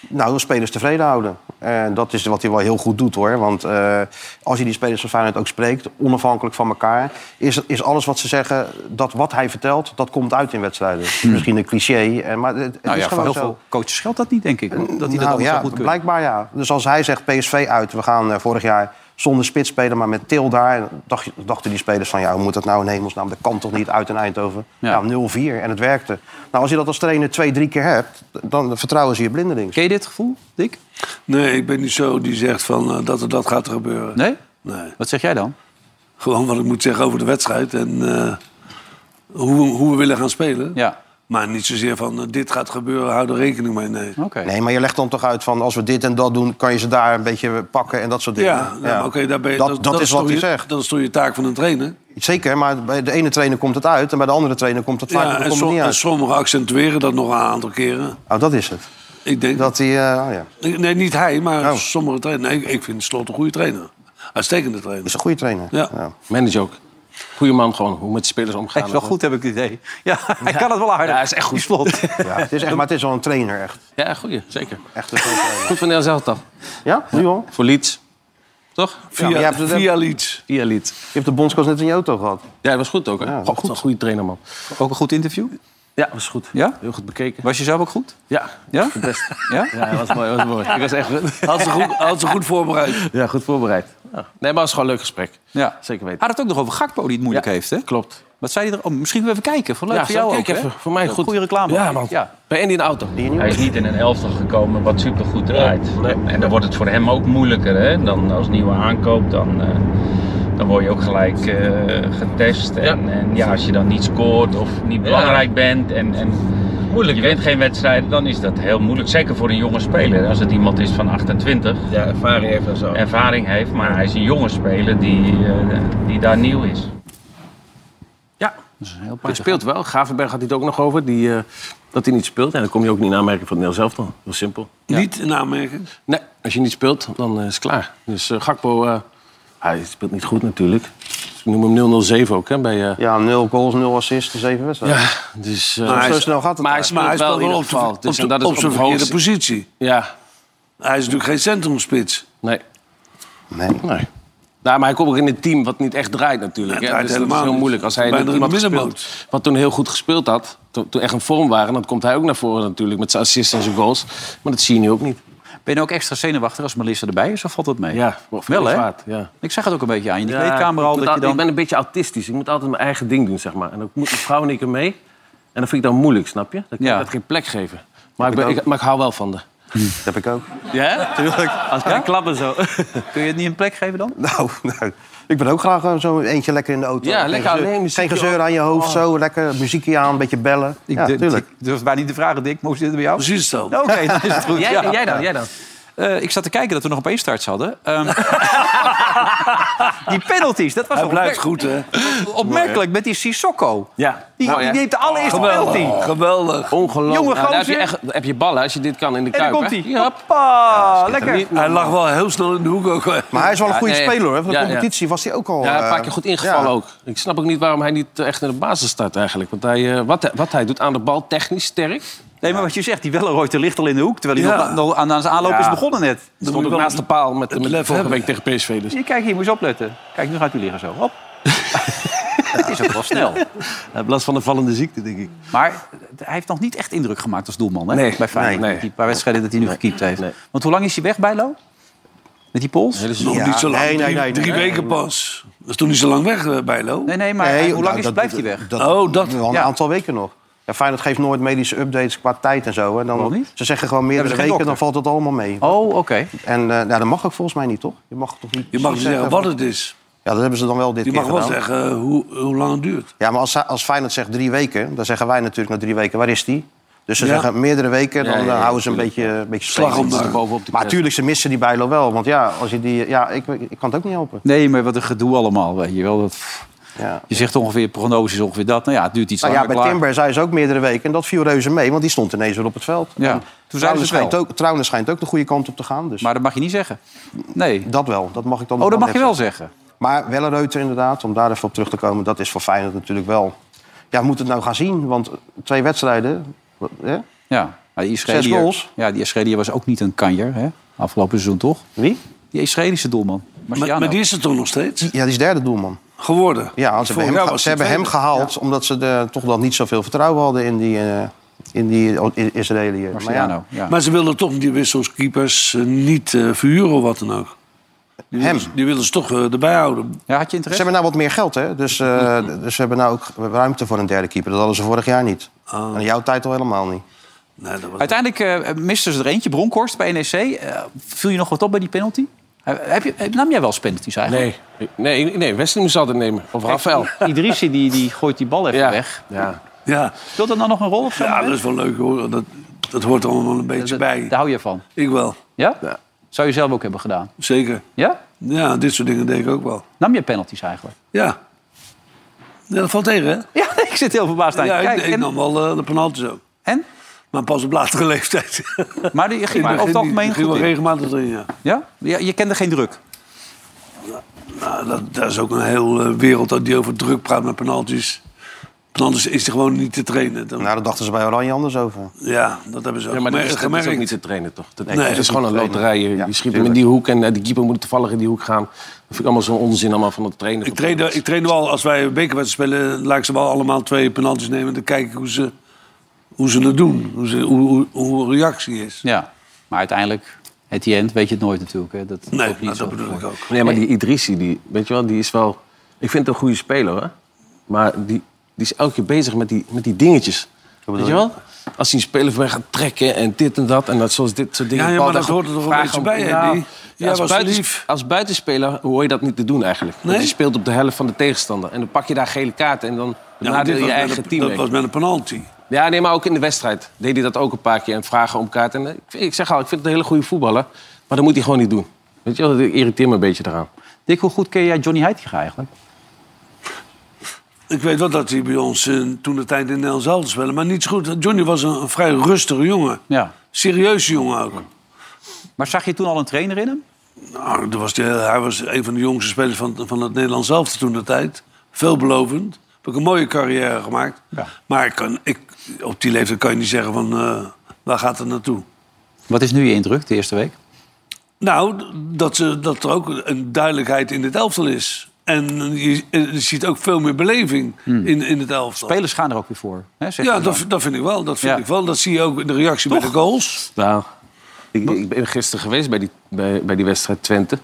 Nou, de spelers tevreden houden. En dat is wat hij wel heel goed doet, hoor. Want eh, als je die spelers van Feyenoord ook spreekt, onafhankelijk van elkaar... Is, is alles wat ze zeggen, dat wat hij vertelt, dat komt uit in wedstrijden. Misschien een cliché, eh, maar het, het Hmm. Nou is ja, voor gewoon heel zo. veel coaches geldt dat niet, denk ik. hoor. Dat die dat Nou allemaal ja, zo goed kunnen. blijkbaar ja. Dus als hij zegt PSV uit, we gaan eh, vorig jaar zonder spits spelen, maar met Til daar. En Dacht, je- dachten die spelers van, ja, hoe moet dat nou in hemelsnaam? Dat kan toch niet uit in Eindhoven? Ja. Ja, 0-4 en het werkte. Nou, als je dat als trainer twee, drie keer hebt, dan vertrouwen ze je blindelings. Ken je dit gevoel, Dick? Nee, ik ben niet zo die zegt van, eh, dat er dat gaat gebeuren. Nee? Nee. Wat zeg jij dan? Gewoon wat ik moet zeggen over de wedstrijd en eh, hoe, we- hoe we willen gaan spelen. Ja. Maar niet zozeer van, eh, dit gaat gebeuren, hou er rekening mee. Nee. Oké. Nee, maar je legt dan toch uit van als we dit en dat doen, kan je ze daar een beetje pakken en dat soort dingen. Ja, nou, maar oké, daar ben je, dat, dat, is wat toch hij je- zegt. Dat is toch je taak van een trainer. Zeker, maar bij de ene trainer komt het uit en bij de andere trainer komt het vaak Ja, en, komt het som- niet en uit. sommigen accentueren dat nog een aantal keren. Oh, dat is het. Ik denk Dat hij, eh, oh ja, Oh. Nee, niet hij, maar sommige trainers. Nee, ik vind Slot een goede trainer. Uitstekende trainer. is een goede trainer. Ja. Manager ook. Goeie man gewoon, hoe met de spelers omgaan. Hij is wel goed, heb ik het idee. Ja, hij kan het wel aardig. Ja, hij is echt goed. Die slot. Ja, het is echt, maar het is wel een trainer, echt. Ja, goeie, zeker. echt een goede trainer. Goed van Nederland zelf toch? Ja, nu al. Voor Leeds. Toch? Via, maar je hebt het- via Leeds. Via Leeds. Je hebt de bondscoach net in je auto gehad. Ja, dat was goed ook. Hè? Ja, dat Goh, goed. Een goede trainer, man. Ook een goed interview? Ja, was goed. Ja? Heel goed bekeken. Was je zelf ook goed? Ja, [laughs] Ja? het beste. Ja? Ja, dat was mooi, dat was mooi. Ik was echt... Had ze, goed, had ze goed voorbereid. Ja, goed voorbereid. Ja. Nee, maar het was gewoon een leuk gesprek. Ja. Zeker weten. Had het ook nog over Gakpo die het moeilijk Ja, heeft, hè? Klopt. Wat zei hij er? Oh, misschien wel even kijken. Voor leuk Ja, voor jou kijk ook, hè? even. Voor mij goed. Goede reclame. Ja, man. Ja. Bij Andy in de auto. Hij is niet in een elftal gekomen wat supergoed draait. Nee. En dan wordt het voor hem ook moeilijker. Hè? Dan als nieuwe aankoop, dan, eh, dan word je ook gelijk eh, getest. En, en ja, als je dan niet scoort of niet belangrijk bent en, en je wint geen wedstrijden, dan is dat heel moeilijk. Zeker voor een jonge speler. Als het iemand is van 28, Ja, ervaring heeft en zo. ervaring heeft, maar hij is een jonge speler die, eh, die daar nieuw is. Ja, hij speelt wel. Gravenberg had hij het ook nog over. Die, eh, dat hij niet speelt. En dan kom je ook niet in aanmerking van het Nederlands zelf dan. Heel simpel. Niet in aanmerking. Nee, als je niet speelt, dan eh, is het klaar. Dus eh, Gakpo, eh, hij speelt niet goed natuurlijk. Dus ik noem hem 007 ook, hè, bij... eh, Ja, 0 goals, 0 assists in 7 wedstrijden. ja, dus... eh, Zo hij is- snel gaat het. maar hij daar. speelt wel in ieder geval. op, Dus de- en dat is op zijn het hoogste. verkeerde positie. Ja, Hij is natuurlijk geen centrumspits. nee. Nee. nee. Nou, maar hij komt ook in een team wat niet echt draait natuurlijk. Ja, hè. draait dus dat is helemaal heel niet. moeilijk. Als hij in een Bijna team had een middenmoot. gespeeld, wat toen heel goed gespeeld had... Toen, toen echt in vorm waren, dan komt hij ook naar voren natuurlijk... met zijn assists en zijn goals. Maar dat zie je nu ook niet. Ben je ook extra zenuwachtig als Melissa erbij is? Of valt dat mee? Ja, wel hè? Ja. Ik zeg het ook een beetje aan je. In de Ja, kleedkamer ik al dat moet je al- Ik dan... ben een beetje autistisch. Ik moet altijd mijn eigen ding doen, zeg maar. En dan moet mijn vrouw en ik er mee. En dat vind ik dan moeilijk, snap je? Dan kan Ja. Hm. ik dat geen plek geven. Maar ik, ben, ik, maar ik hou wel van de. Dat heb ik ook. Ja? Tuurlijk. Als ik klappen [laughs] zo. Kun je het niet een plek geven dan? Nou, nou, ik ben ook graag eh, zo eentje lekker in de auto. Ja, Geen lekker gezeur- alleen, muziekje Geen gezeur aan je Oh. hoofd, zo. Lekker muziekje aan, een beetje bellen. Ik ja, durf- tuurlijk. ik durf bijna niet te vragen, Dick. Maar hoe zit het bij jou? Precies hetzelfde. [laughs] Oké, dan is het goed. Jij, ja. en jij dan, jij dan. Eh, ik zat te kijken dat we nog op één starts hadden. Ehm, [laughs] die penalties, dat was Hij blijft opmerk- goed, hè? Nou Opmerkelijk met die Sissoko. Ja. Die, Mooi, die hè? neemt de allereerste Geweldig. penalty. Geweldig. Ongelooflijk. Jonge Nou, daar heb je, gozer. echt, daar heb je ballen als je dit kan in de En daar kuip. komt hè? hij. Ja, hop. Hoppa, lekker. niet Hij lag wel heel snel in de hoek ook. hè. Maar hij is wel een Ja, goede nee. speler hoor. Van de Ja, ja. competitie was hij ook al... Ja, een paar eh, keer goed ingevallen ja. ook. Ik snap ook niet waarom hij niet eh, echt in de basis start eigenlijk. Want hij, eh, wat, hij- wat hij doet aan de bal, technisch sterk. Nee, maar wat je zegt, die Welleroyte ligt al in de hoek... terwijl hij Ja. nog, nog aan, aan zijn aanloop Ja. is begonnen net. Dat stond ook wel naast de paal met, het met lef vorige hebben. week tegen PSV. Dus. Hier, kijk, hier, moet je eens opletten. Kijk, nu gaat hij liggen zo. Hop. Het is ook wel [laughs] snel. Last van een vallende ziekte, denk ik. Maar eh, hij heeft nog niet echt indruk gemaakt als doelman hè? Nee, bij Feyenoord. nee, nee. Die paar wedstrijden dat hij nu gekiept heeft. nee. Want hoe lang is hij weg, Bijlo? Met die pols? Nee, dat is Nog Ja, niet zo lang. nee, nee, drie nee, drie nee. weken pas. Dat is toen niet zo lang weg, eh, Bijlo. Nee, nee, maar Nee, eh, hoe lang nou, is, dat- blijft hij weg? Dat, Oh, dat- Wel een ja. aantal weken nog. Ja, Feyenoord geeft nooit medische updates qua tijd en zo. hè. Waarom Dan, niet? ze zeggen gewoon Hebben meerdere ze geen weken, dan dokter? valt het allemaal mee. Oh, oké. En eh, nou, dat mag ook volgens mij niet, toch? Je mag toch niet... Je mag niet eh, zeggen wat van- het is. Ja, dat hebben ze dan wel dit Je keer mag wel gedaan. zeggen eh, hoe, hoe lang het duurt. Ja, maar als, zij- als Feyenoord zegt drie weken, dan zeggen wij natuurlijk na drie weken, waar is die? Dus ze Ja. zeggen meerdere weken, dan Ja, ja, ja, eh, houden ze een beetje, een beetje Slag steek. om de- bovenop de Maar kruis. natuurlijk, ze missen die Bijlo wel. Want ja, als je die, ja ik, ik kan het ook niet helpen. Nee, maar wat een gedoe allemaal, weet je wel. Dat, pff, Ja. je zegt ongeveer, prognose is ongeveer dat. Nou ja, het duurt iets Nou langer. ja, bij klaar. Timber zei ze ook meerdere weken. En dat viel reuze mee, want die stond ineens weer op het veld. Ja, En toen zeiden ze het schijnt wel. Oh, ook, Trouwens schijnt ook de goede kant op te gaan. Dus Maar dat mag je niet zeggen. Nee. dat wel, dat mag ik dan Oh, dat mag net je wel zeggen. Maar Wellereuter inderdaad, om daar even op terug te komen... dat is voor Feyenoord natuurlijk wel... Ja, we moeten het nou gaan zien, want twee wedstrijden... wat- Hè? Ja. Maar die Israëliër- Zes goals. Ja, die Israëliër was ook niet een kanjer, hè? Afgelopen seizoen, toch? Wie? Die Israëlische doelman. Maar, Marciano. maar die is er toch nog steeds? Ja, die is derde doelman. Geworden. Ja, want ze Vorig hebben hem, jaar ge- was ze hij hebben hem tweede. gehaald omdat ze de, toch dan niet zoveel vertrouwen hadden in die, eh, in die o- I- Israëliër. Maar ja, Marciano, ja. Maar ze wilden toch die wisselskeepers eh, niet eh, verhuren of wat dan ook. Die Hem. wilden ze- die wilden ze toch eh, erbij houden. Ja, had je Ze interesse? hebben nou wat meer geld, hè? Dus, eh, dus ze hebben nou ook ruimte voor een derde keeper. Dat hadden ze vorig jaar niet. Oh. En in jouw tijd al helemaal niet. Nee, dat was... Uiteindelijk eh misten ze er eentje, Bronkhorst bij NEC. Eh, viel je nog wat op bij die penalty? Eh, heb je, eh, nam jij wel eens penalties eigenlijk? Nee, nee, nee Wesley moest altijd nemen. Of Rafael. [laughs] Idrissi die, die gooit die bal even Ja. weg. Ja. Ja. Speelt dat nou nog een rol of zo? ja, dat is wel leuk hoor. Dat, dat hoort er allemaal wel een beetje Dat- bij. Daar hou je van. Ik wel, Ja? Zou je zelf ook hebben gedaan? zeker. Ja? Ja, dit soort dingen denk ik ook wel. Nam je penalties eigenlijk? Ja. ja dat valt tegen, hè? Ja, [laughs] ik zit heel verbaasd aan. je Ja, te ik, kijken. ik en, nam wel eh, de penalties ook. en? Maar pas op latere [laughs] leeftijd. Maar die ging maar In begin over het niet. algemeen Ging goed wel in. regelmatig erin, ja. Ja? ja? Je kende geen druk. Nou, dat, dat is ook een heel eh, wereld dat die over druk praat met penalties. Penalties is er gewoon niet te trainen. Dan- Nou, daar dachten ze bij Oranje anders over. ja, dat hebben ze ook Ja, maar gemerkt. dat is, dat is ook gemerkt. niet te trainen, toch? Dat, dat dat is is gewoon een niet te loterij. Je, je Ja, schiet hem in die hoek en eh, de keeper moet toevallig in die hoek gaan. Dat vind ik allemaal zo'n onzin allemaal van het trainen. ik, train, ik train wel, als wij bekerwedstrijd spelen, laat ik ze wel allemaal twee penalties nemen. Dan kijk ik hoe ze, hoe ze het doen. Hoe, ze, hoe, hoe, hoe hun reactie is. Ja. Maar uiteindelijk, at the end, weet je het nooit natuurlijk. Hè? Dat, Nee, ook niet nou, zo dat bedoel ik ook. Nee, maar die Idrissi, die, weet je wel, die is wel... Ik vind het een goede speler, hoor. Maar die, die is elke keer bezig met die, met die dingetjes. Weet je wel? Als hij een speler van mij gaat trekken en dit en dat... en dat, zoals dit soort dingen... Ja, ja, bal maar dat daar- hoort er toch een vraag beetje om- bij, hè, Ja, die? Jij als, was buitens- lief. als buitenspeler hoor je dat niet te doen eigenlijk. Want Nee? je speelt op de helft van de tegenstander. En dan pak je daar gele kaart en dan Ja, maar nadeel dit je was met eigen een- team. dat mee. was met een penalty. Ja, nee, maar ook in de wedstrijd deed hij dat ook een paar keer. En vragen om kaart. En, eh, ik, vind- ik zeg al, ik vind het een hele goede voetballer. Maar dat moet hij gewoon niet doen. Weet je wel, dat irriteert me een beetje eraan. Dick, hoe goed ken jij Johnny Heitinga eigenlijk? Ik weet wel dat hij bij ons eh, toen de tijd in Nederland zelf spelen, maar niet zo goed. Johnny was een, een vrij rustige jongen. Ja. Serieuze jongen ook. Maar zag je toen al een trainer in hem? Nou, dat was die- hij was een van de jongste spelers van, van het Nederlands zelf toen de tijd. Veelbelovend. Heb ik een mooie carrière gemaakt. Ja. Maar ik kan, ik, op die leeftijd kan je niet zeggen van eh, waar gaat het naartoe. Wat is nu je indruk de eerste week? Nou, d- dat, ze, dat er ook een duidelijkheid in dit elftal is. En je, je ziet ook veel meer beleving in, in het elftal. Spelers gaan er ook weer voor. Hmm. Hè, zegt Ja, hij dan. dat, dat vind ik wel. Dat vind Ja. ik wel. Dat zie je ook in de reactie bij de goals. Nou, ik, ik ben gisteren geweest bij die, bij, bij die wedstrijd Twente.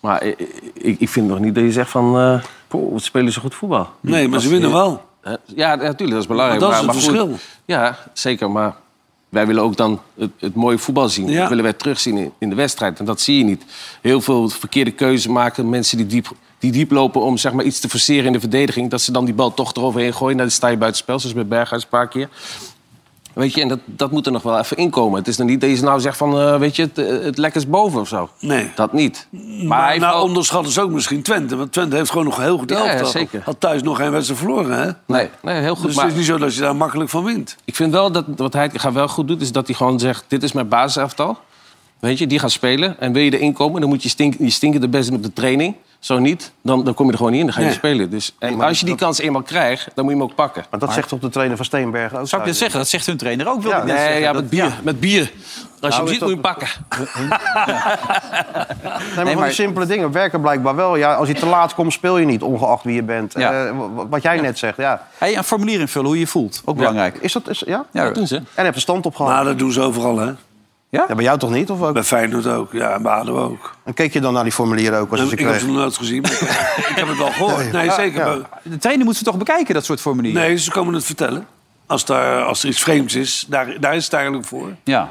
Maar ik, ik, ik vind nog niet dat je zegt van... eh poh, wat spelen ze goed voetbal. Nee, maar ze winnen wel. Eh, Ja, natuurlijk, dat is belangrijk. Maar dat is het goed, verschil. ja, zeker. Maar wij willen ook dan het, het mooie voetbal zien. Ja. Dat willen wij terugzien in, in de wedstrijd. En dat zie je niet. Heel veel verkeerde keuzes maken. Mensen die diep, die diep lopen om zeg maar, iets te forceren in de verdediging. Dat ze dan die bal toch eroverheen gooien. Nou, Dan sta je buitenspel, zoals bij Berghuis een paar keer. Weet je, en dat, dat moet er nog wel even inkomen. Het is dan niet dat je nou zegt van, eh, weet je, het, eh, het lek is boven of zo. Nee. Dat niet. Maar nou, onderschatten ze ook misschien Twente. Want Twente heeft gewoon nog een heel goed Ja, ja, elftal. zeker. Had thuis nog geen wedstrijd verloren, Dus hè? Nee, nee heel goed. Dus het is niet zo dat je daar makkelijk van wint. Ik vind wel dat wat hij gaat wel goed doet, is dat hij gewoon zegt: dit is mijn basiselftal. Weet je, die gaat spelen. En wil je erin komen, dan moet je stinken, je stinken de best doen op de training. Zo niet, dan, dan kom je er gewoon niet in. Dan ga je Nee. niet spelen. Dus, en als je die kans eenmaal krijgt, dan moet je hem ook pakken. Maar dat zegt toch de trainer van Steenberg ook? Zou ik dit zeggen? Dat zegt hun trainer ook, Ja, nee, ja, met bier. Met bier. Als je Nou, hem is ziet, dat- moet je hem pakken. [laughs] Nee, maar, Nee, van maar- die simpele dingen werken blijkbaar wel. Ja, als je te laat komt, speel je niet, ongeacht wie je bent. Ja. Eh, wa- wat jij net zegt, ja. Hey, een formulier invullen hoe je je voelt. Ook belangrijk. Is dat, is, ja? Ja, Dat doen ze. En heb je stand op gehad. Maar dat doen ze overal, hè? Ja? bij jou toch niet? Of ook? Bij Feyenoord ook. Ja, en bij ADO ook. En keek je dan naar die formulieren ook als je Nou, ze ik heb kreeg? ze nog nooit gezien. maar ik heb het wel [laughs] gehoord. Nee, Ja, zeker. ja. De trainer moet ze toch bekijken, dat soort formulieren? Nee, ze komen het vertellen. Als, daar, als er iets vreemds is, daar, daar is het eigenlijk voor. Ja.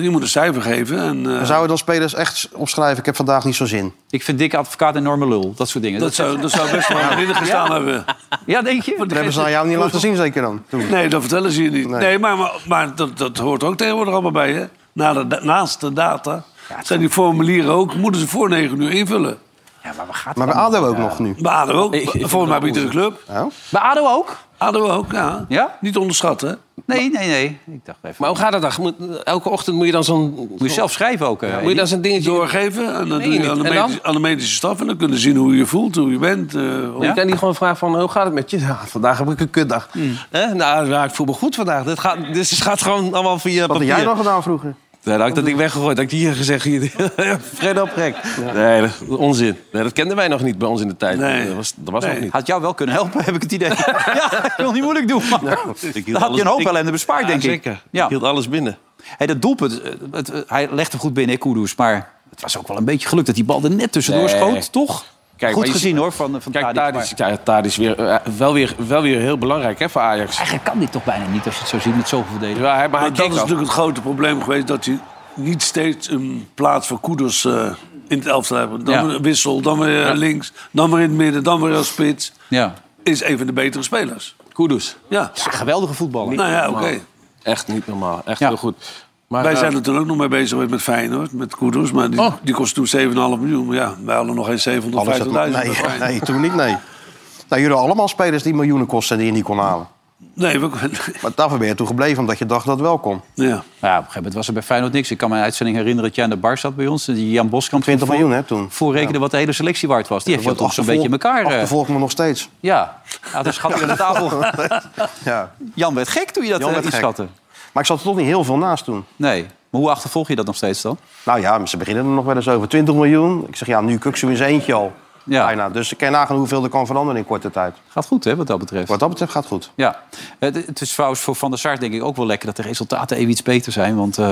Je moet een cijfer geven. En, eh, Dan Zouden dan spelers echt opschrijven, ik heb vandaag niet zo zin? Ik vind dikke advocaat een enorme lul. Dat soort dingen. dat, zou, dat zou best wel aan binnen gestaan hebben. Ja, denk je? Dat hebben ze aan jou niet laten zien, zeker dan? Toen. Nee, dat vertellen ze je niet. Nee. Nee, maar, maar, maar dat, dat hoort ook tegenwoordig allemaal bij, hè? Na de, da- naast de data zijn die formulieren ook... moeten ze voor negen uur invullen. Ja, maar we gaan Maar bij ADO ook nog nu. Bij ADO ook. Ik- ik vind Volgens mij dat bij iedere club. Nou, Bij ADO ook? ADO ook, ja. Ja? Niet onderschatten, hè? Nee, nee, nee. Ik dacht even. Maar hoe gaat dat dan? Moet- Elke ochtend moet je dan zo'n. moet je zo'n- zelf schrijven ook. moet je dan zo'n dingetje. doorgeven en dan Nee, doe niet. je aan de, En dan? medische, aan de medische staf en dan kunnen ze zien hoe je voelt, hoe je bent. eh, hoe- Je kan niet gewoon vragen van, hoe gaat het met je? [laughs] Ja, vandaag heb ik een kutdag. Hmm. Hè? Nou, ja, ik voel me goed vandaag. Dit gaat, dus het gaat gewoon allemaal via wat had papier. jij dan gedaan vroeger? Nee, dat had ik dat ding weggegooid. Dat ik hier gezegd, [laughs] hier, Fred op gek. Nee, dat, onzin. Nee, dat kenden wij nog niet bij ons in de tijd. Nee. Dat was, dat was Nee. nog niet. Had jou wel kunnen helpen, [laughs] heb ik het idee. [laughs] ja, ik wil niet moeilijk doen. Maar... hield dan had alles- je een hoop ik- ellende bespaard, Ja, denk ik. zeker. Ja. Ik hield alles binnen. Hey, dat doelpunt, eh, het, eh, hij legde goed binnen, Kudus. Maar het was ook wel een beetje geluk dat die bal er net tussendoor Nee. schoot, toch? Kijk, goed maar je gezien ziet- hoor, van, van Kijk, Tadic, maar- Tadic, ja, Tadic weer, eh, wel, weer, wel weer heel belangrijk hè, voor Ajax. Eigenlijk kan dit toch bijna niet als je het zo ziet met zoveel verdedigers. Ja, hij- maar hij Maar dat is keek ook. natuurlijk het grote probleem geweest dat je niet steeds een plaats voor koeders eh, in het elftal hebt. Dan Ja. weer een wissel, dan weer eh, links, dan weer in het midden, dan weer als spits. Ja. Is een van de betere spelers. Kudus. Ja, Ja, geweldige voetballer. nou ja, oké. Echt niet normaal. Echt Ja. heel goed. Maar, Wij eh, zijn er toen ook nog mee bezig geweest met Feyenoord, met koeders. Maar die, die kost toen 7,5 miljoen. Maar ja, wij hadden nog geen 750.000. Alles dat- bij nee, Feyenoord. nee, [laughs] toen niet, nee. Nou, jullie hadden allemaal spelers die miljoenen kosten en die je niet kon halen. nee we- Maar daarvoor ben je toe gebleven, omdat je dacht dat het wel kon. ja. Ja, op een gegeven moment was er bij Feyenoord niks. Ik kan me een uitzending herinneren dat jij aan de bar zat bij ons. en Die Jan Boskamp 20 voor- miljoen, hè, toen. voorrekende wat de hele selectie waard was. Die heeft je toch zo'n beetje in elkaar... eh, Achtervolgt me nog steeds. ja, ja toen schat ik aan de tafel. Ja. Jan werd gek toen je dat Jan eh, werd gek. inschatte. Maar ik zat er toch niet heel veel naast toen. Nee, maar hoe achtervolg je dat nog steeds dan? Nou ja, maar ze beginnen er nog wel eens over. 20 miljoen. Ik zeg, ja, nu Kuksu in zijn eentje al. Ja. Bijna. Dus ik kan je nagaan hoeveel er kan veranderen in korte tijd. Gaat goed, hè, wat dat betreft. Wat dat betreft gaat het goed. Ja, het, het is trouwens voor Van der Sar denk ik ook wel lekker... dat de resultaten even iets beter zijn, want... eh,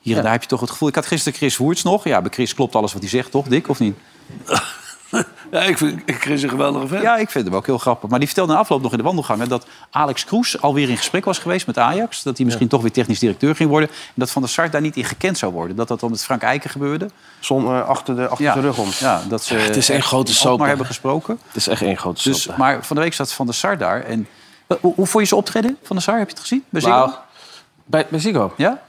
hier en daar heb je toch het gevoel... Ik had gisteren Chris Woerts nog. Ja, bij Chris klopt alles wat hij zegt, toch, Dick? Of niet? [laughs] ja, ik vind ik Chris een geweldige vent. Ja, ik vind hem ook heel grappig. Maar die vertelde na afloop nog in de wandelgangen... dat Alex Kroes alweer in gesprek was geweest met Ajax. Dat hij misschien toch weer technisch directeur ging worden. En dat Van der Sar daar niet in gekend zou worden. Dat dat dan met Frank Eiken gebeurde. Zon eh, achter de, achter Ja, de rug om. ja dat ze het is één grote soap, Maar hè? hebben gesproken. het is echt één grote Dus, soap. maar van de week zat Van der Sar daar. En, hoe, hoe vond je ze optreden, Van der Sar? Heb je het gezien? Bij Ziggo? Nou, bij, bij Ziggo? Ja?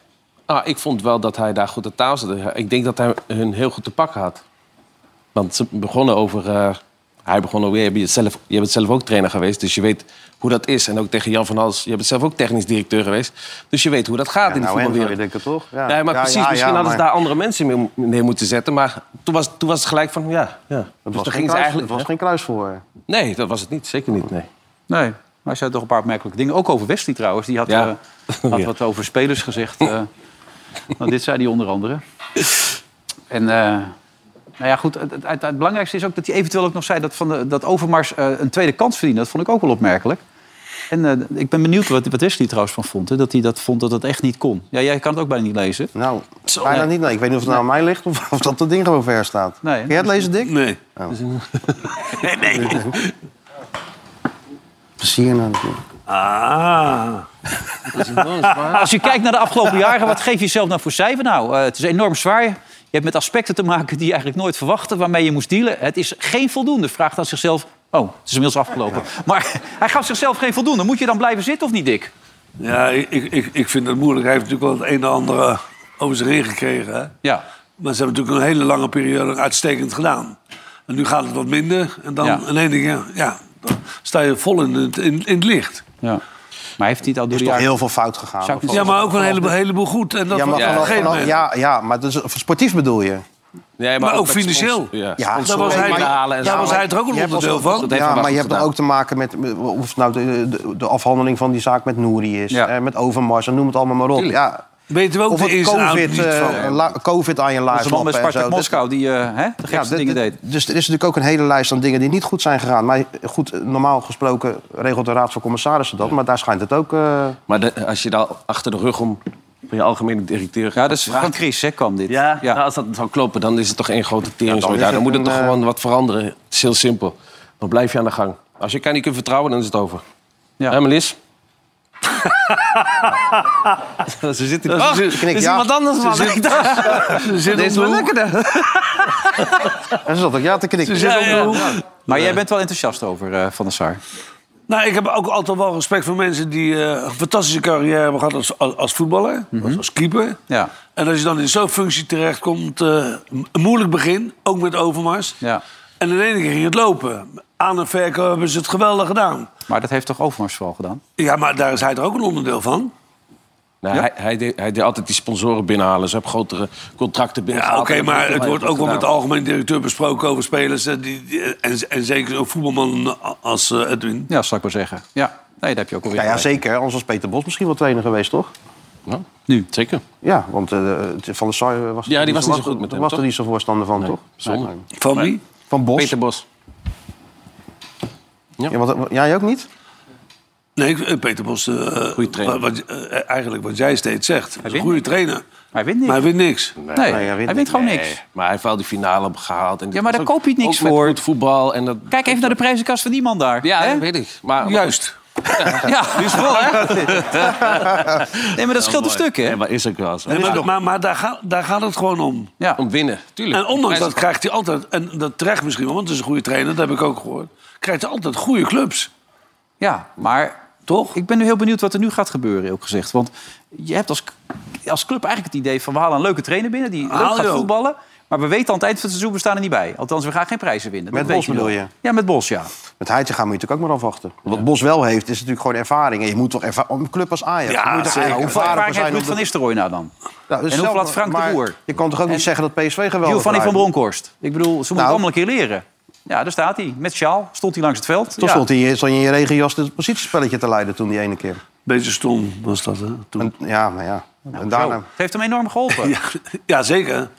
Ah, ik vond wel dat hij daar goed de taal zette. Ik denk dat hij hun heel goed te pakken had. Want ze begonnen over... eh, hij begon over... Je bent, zelf, je bent zelf ook trainer geweest, dus je weet hoe dat is. En ook tegen Jan van Hals. Je bent zelf ook technisch directeur geweest. Dus je weet hoe dat gaat Ja, in de nou, en voetbalwereld. weer denken toch? Ja. Nee, maar Ja, precies. ja, misschien ja, hadden ze maar daar andere mensen mee mo- neer moeten zetten. Maar toen was, toen was het gelijk van, ja. ja. Het Dus was, toen geen, gingen kruis, ze eigenlijk, het was geen kruis voor. Nee, dat was het niet. Zeker niet, nee. Nee, maar hij zei toch een paar opmerkelijke dingen. Ook over Wesley trouwens. Die had, Ja. eh, had [laughs] Ja. wat over spelers gezegd. [laughs] eh. nou, dit zei hij onder andere. En eh, nou ja, goed, het, het- het- het belangrijkste is ook dat hij eventueel ook nog zei... dat, van de, dat Overmars eh, een tweede kans verdiende. Dat vond ik ook wel opmerkelijk. En eh, ik ben benieuwd wat, wat Wesley trouwens van vond. Hè? Dat hij dat vond dat dat echt niet kon. Ja, jij kan het ook bijna niet lezen. Nou, bijna niet. Nee. Ik weet niet of het nou aan mij ligt of, of dat dat ding gewoon ver staat. Nee, Kun jij het lezen, Dick? Oh. Nee. [laughs] [laughs] Plezier. nou. Ah. [laughs] Als je kijkt naar de afgelopen jaren, wat geef je jezelf nou voor cijfer? Nou, eh, het is enorm zwaar. Je hebt met aspecten te maken die je eigenlijk nooit verwachtte, waarmee je moest dealen. Het is geen voldoende, vraagt aan zichzelf. Oh, het is inmiddels afgelopen. Maar hij gaf zichzelf geen voldoende. Moet je dan blijven zitten of niet, Dick? Ja, ik, ik, ik vind het moeilijk. Hij heeft natuurlijk wel het een en ander eh, over zich heen gekregen. Hè? Ja. Maar ze hebben natuurlijk een hele lange periode uitstekend gedaan. En nu gaat het wat minder. En dan Ja. in één ding, ja, ja, dan sta je vol in het, in, in het licht. Ja. Maar heeft hij het al door is de toch jaren- heel veel fout gegaan. Zou ik niet Ja, maar ook wel een vanaf heleboel, heleboel goed. En dat ja, maar was op een vanaf- gegeven vanaf- moment. ja, ja, maar dat is, sportief bedoel je? Nee, Maar ook financieel. Ja, Ja, daar was hij, daar was hij er ook een onderdeel van. Ja, maar je hebt dan ook te maken met met- of het nou de, de, de afhandeling van die zaak met Nouri is, eh, met Overmars en noem het allemaal maar op. Ja. Weten we ook of de het ins en outs COVID, niet eh, van. la- COVID aan je lijf Onze man bij lappen en Spartak zo. Dat- Moskou, die eh, hè, de gekste dit- dingen deed. dit- Dus er is natuurlijk ook een hele lijst aan dingen die niet goed zijn gegaan. Maar goed, eh, normaal gesproken regelt de Raad van Commissarissen dat. Maar daar schijnt het ook... eh, Maar de- als je daar achter de rug om van je algemene directeur Ja, dus dat is van Chris, hè, kwam dit. Ja, nou, als dat zou kloppen, dan is het toch één grote tering. dan dan is dan het moet het een, toch eh, gewoon wat veranderen. Het is heel simpel. Dan blijf je aan de gang. Als je elkaar niet kunt vertrouwen, dan is het over. Ja. Ja. Hè, [laughs] Melis? Ze zitten... Ze Ach, zitten- er knikt, is ja. iemand anders, man. [laughs] Ik dacht, Ze zitten Dit is om de wel hoek. lekkerder. en ze zat ook ja te knikken. Ze zitten om de hoek. Maar jij bent wel enthousiast over eh, Van der Sar. Nou, ik heb ook altijd wel respect voor mensen die eh, een fantastische carrière hebben gehad als, als, als voetballer, Mhm. als, als keeper. Ja. En als je dan in zo'n functie terechtkomt, eh een moeilijk begin, ook met Overmars. Ja. En in één keer ging het lopen. Aan en verkoop hebben ze het geweldig gedaan. Maar dat heeft toch Overmars vooral gedaan? Ja, maar daar is hij er ook een onderdeel van. Nee, hij, hij, deed, hij deed altijd die sponsoren binnenhalen. Ze hebben grotere contracten Ja, oké, binnengehaald. maar het wordt ook wel met de al. algemeen directeur besproken over spelers. eh, Die, die- en, en zeker zo'n voetbalman als eh, Edwin. Ja, zou ik maar zeggen. Ja, nee, daar heb je ook alweer Ja, ja, gelijk. zeker. Anders was Peter Bos misschien wel trainer geweest, toch? Nu? Zeker. Ja, want eh, Van der Sar was, Ja, die was niet zo goed met hem, was toch? er niet zo voorstander van, toch? Zonde. Van wie? Van Bos? Peter Bos. Ja, want, eh, jij ook niet? Nee, ik- eh, Peter Bos. eh, Goeie trainer. Wat, wat- eh, eigenlijk wat jij steeds zegt. Hij is een wint goede trainer. Maar hij wint niet. Maar hij wint niks. Nee, hij hij wint wint gewoon Nee, niks. Maar hij heeft wel die finale gehaald. En dit Ja, maar was daar ook- koop je het niks ook met voor. goed voetbal. En dat, Kijk even naar de prijzenkast van die man daar. ja, hè? dat weet ik. Maar, Juist. Ja, die is vol, hè? [laughs] nee, maar dat scheelt een stuk, Ja, hè? maar is ook wel zo. Nee, maar [laughs] maar, maar daar, gaat, daar gaat het gewoon om. Ja. Om winnen, tuurlijk. En ondanks Hij dat is- krijgt hij altijd, en dat terecht misschien wel, want het is een goede trainer, dat heb ik ook gehoord. Krijgt hij altijd goede clubs. Ja, maar toch? Ik ben nu heel benieuwd wat er nu gaat gebeuren, ook gezegd. Want je hebt als, als club eigenlijk het idee van... we halen een leuke trainer binnen die leuk Haal gaat je ook. voetballen... maar we weten aan het eind van het seizoen, we staan er niet bij. Althans, we gaan geen prijzen winnen. Met Dat weet Bos bedoel wel. je? Ja, met Bos, ja. Met Heidje gaan we natuurlijk ook maar afwachten. Wat Bos wel heeft, is natuurlijk gewoon ervaring. En je moet toch ervaren... Een club als Ajax. Ja, je moet toch zeker. ervaren Hoeveel ervaring zijn heeft om Ruud de- van Nistelrooy nou dan? Nou, dus en hoeveel zelf- had Frank maar de Boer? Je kan toch ook En- niet zeggen dat PSV geweldig Giovanni van draait? Bronckhorst. Ik bedoel, ze moeten Nou. het allemaal een keer leren. Ja, daar staat hij. Met sjaal stond hij langs het veld. Toen ja. stond hij stond je in je regenjas het positiespelletje te leiden toen die ene keer. Beetje stom was dat, hè? Toen. Nou, En, ja, maar ja. en Zo. daarna... Het heeft hem enorm geholpen. [laughs] Ja, ja, zeker.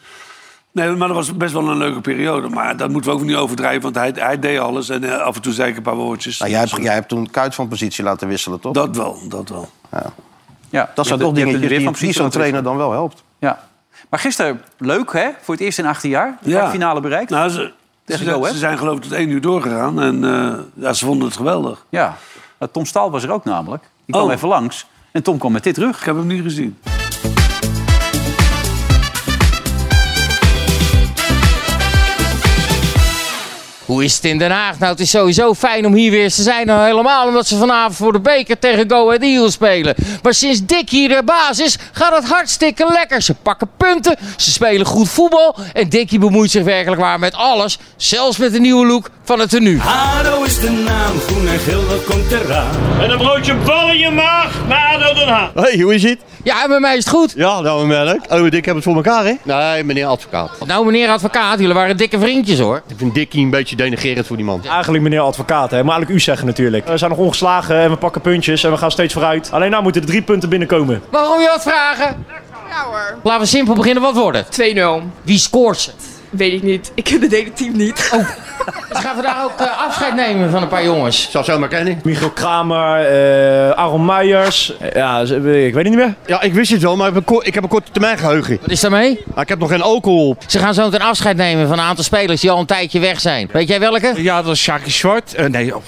Nee, maar dat was best wel een leuke periode. Maar dat moeten we ook niet overdrijven, want hij, hij deed alles. En eh, af en toe zei ik een paar woordjes. Nou, jij, hebt, jij hebt toen Kuit van positie laten wisselen, toch? Dat, Dat wel, dat wel. Ja, je zijn hebt- toch je hebt dingetjes er weer die, van die zo'n precies trainer dan wel helpt. Ja. Maar gisteren, leuk hè? Voor het eerst in 18 jaar. De Ja. finale bereikt. Nou, ze, Tegen ze- Go, hè? ze zijn geloof ik tot één uur doorgegaan. En eh, ja, ze vonden het geweldig. Ja. Nou, Tom Staal was er ook namelijk. Die kwam Oh. even langs. En Tom kwam met dit terug. Ik heb hem niet gezien. Hoe is het in Den Haag? Nou, het is sowieso fijn om hier weer eens te zijn. Nou, helemaal omdat ze vanavond voor de beker tegen Go Ahead Eagles spelen. Maar sinds Dick hier de baas is, gaat het hartstikke lekker. Ze pakken punten, ze spelen goed voetbal. En Dickie bemoeit zich werkelijk waar met alles. Zelfs met de nieuwe look van het tenue. ADO is de naam, groen en geel, dat komt eraan. En een broodje bal in je maag naar ADO Den Haag. Hey, hoe is het? Ja, en bij mij is het goed. Ja, nou merk. Oh, ik heb het voor elkaar, hè? Nee, meneer advocaat. Nou, meneer advocaat, jullie waren dikke vriendjes hoor. Ik vind Dikkie een beetje denigerend voor die man. Eigenlijk meneer advocaat, hè? maar eigenlijk u zeggen natuurlijk. We zijn nog ongeslagen en we pakken puntjes en we gaan steeds vooruit. Alleen nou moeten er drie punten binnenkomen. Waarom je wat vragen? Ja hoor. Laten we simpel beginnen, wat worden? 2-0. Wie scoort ze? Weet ik niet. Ik ken het hele team niet. Oh, dus gaan we daar ook eh, afscheid nemen van een paar jongens? Zou zomaar kennen. Michiel Kramer, eh Aaron Meijers. Eh, Ja, ze- eh, ik weet het niet meer. Ja, ik wist het wel, maar ik heb een, ko- ik heb een korte termijn geheugen. Wat is daarmee? Maar ik heb nog geen alcohol op. Ze gaan zo meteen afscheid nemen van een aantal spelers die al een tijdje weg zijn. Weet jij welke? Ja, dat is Sjaakje Zwart. Eh, nee, oh.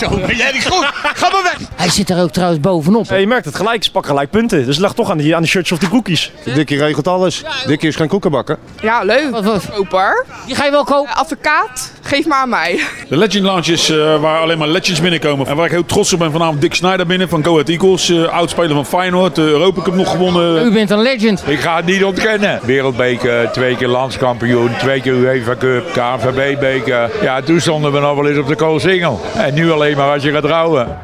zo Oh, ben jij niet goed. Ga maar weg. Hij zit er ook trouwens bovenop. Eh, je merkt het gelijk, ze pakken gelijk punten. Dus het lag toch aan, die, aan de shirts of de cookies. Dikkie regelt alles. Dikkie is geen koekenbakker. Ja, leuk. Wat, wat, verkoper. Die ga je wel kopen? advocaat, geef maar aan mij. De Legend Lounges eh, waar alleen maar legends binnenkomen. En waar ik heel trots op ben, vanavond Dick Snyder binnen van Go Ahead Eagles. eh Oudspeler van Feyenoord, de Europa Cup nog gewonnen. U bent een legend. Ik ga het niet ontkennen. Wereldbeker, eh, twee keer landskampioen, twee keer UEFA Cup, KNVB-beker. Ja, toen stonden we nog wel eens op de koolsingel. En nu alleen maar als je gaat trouwen.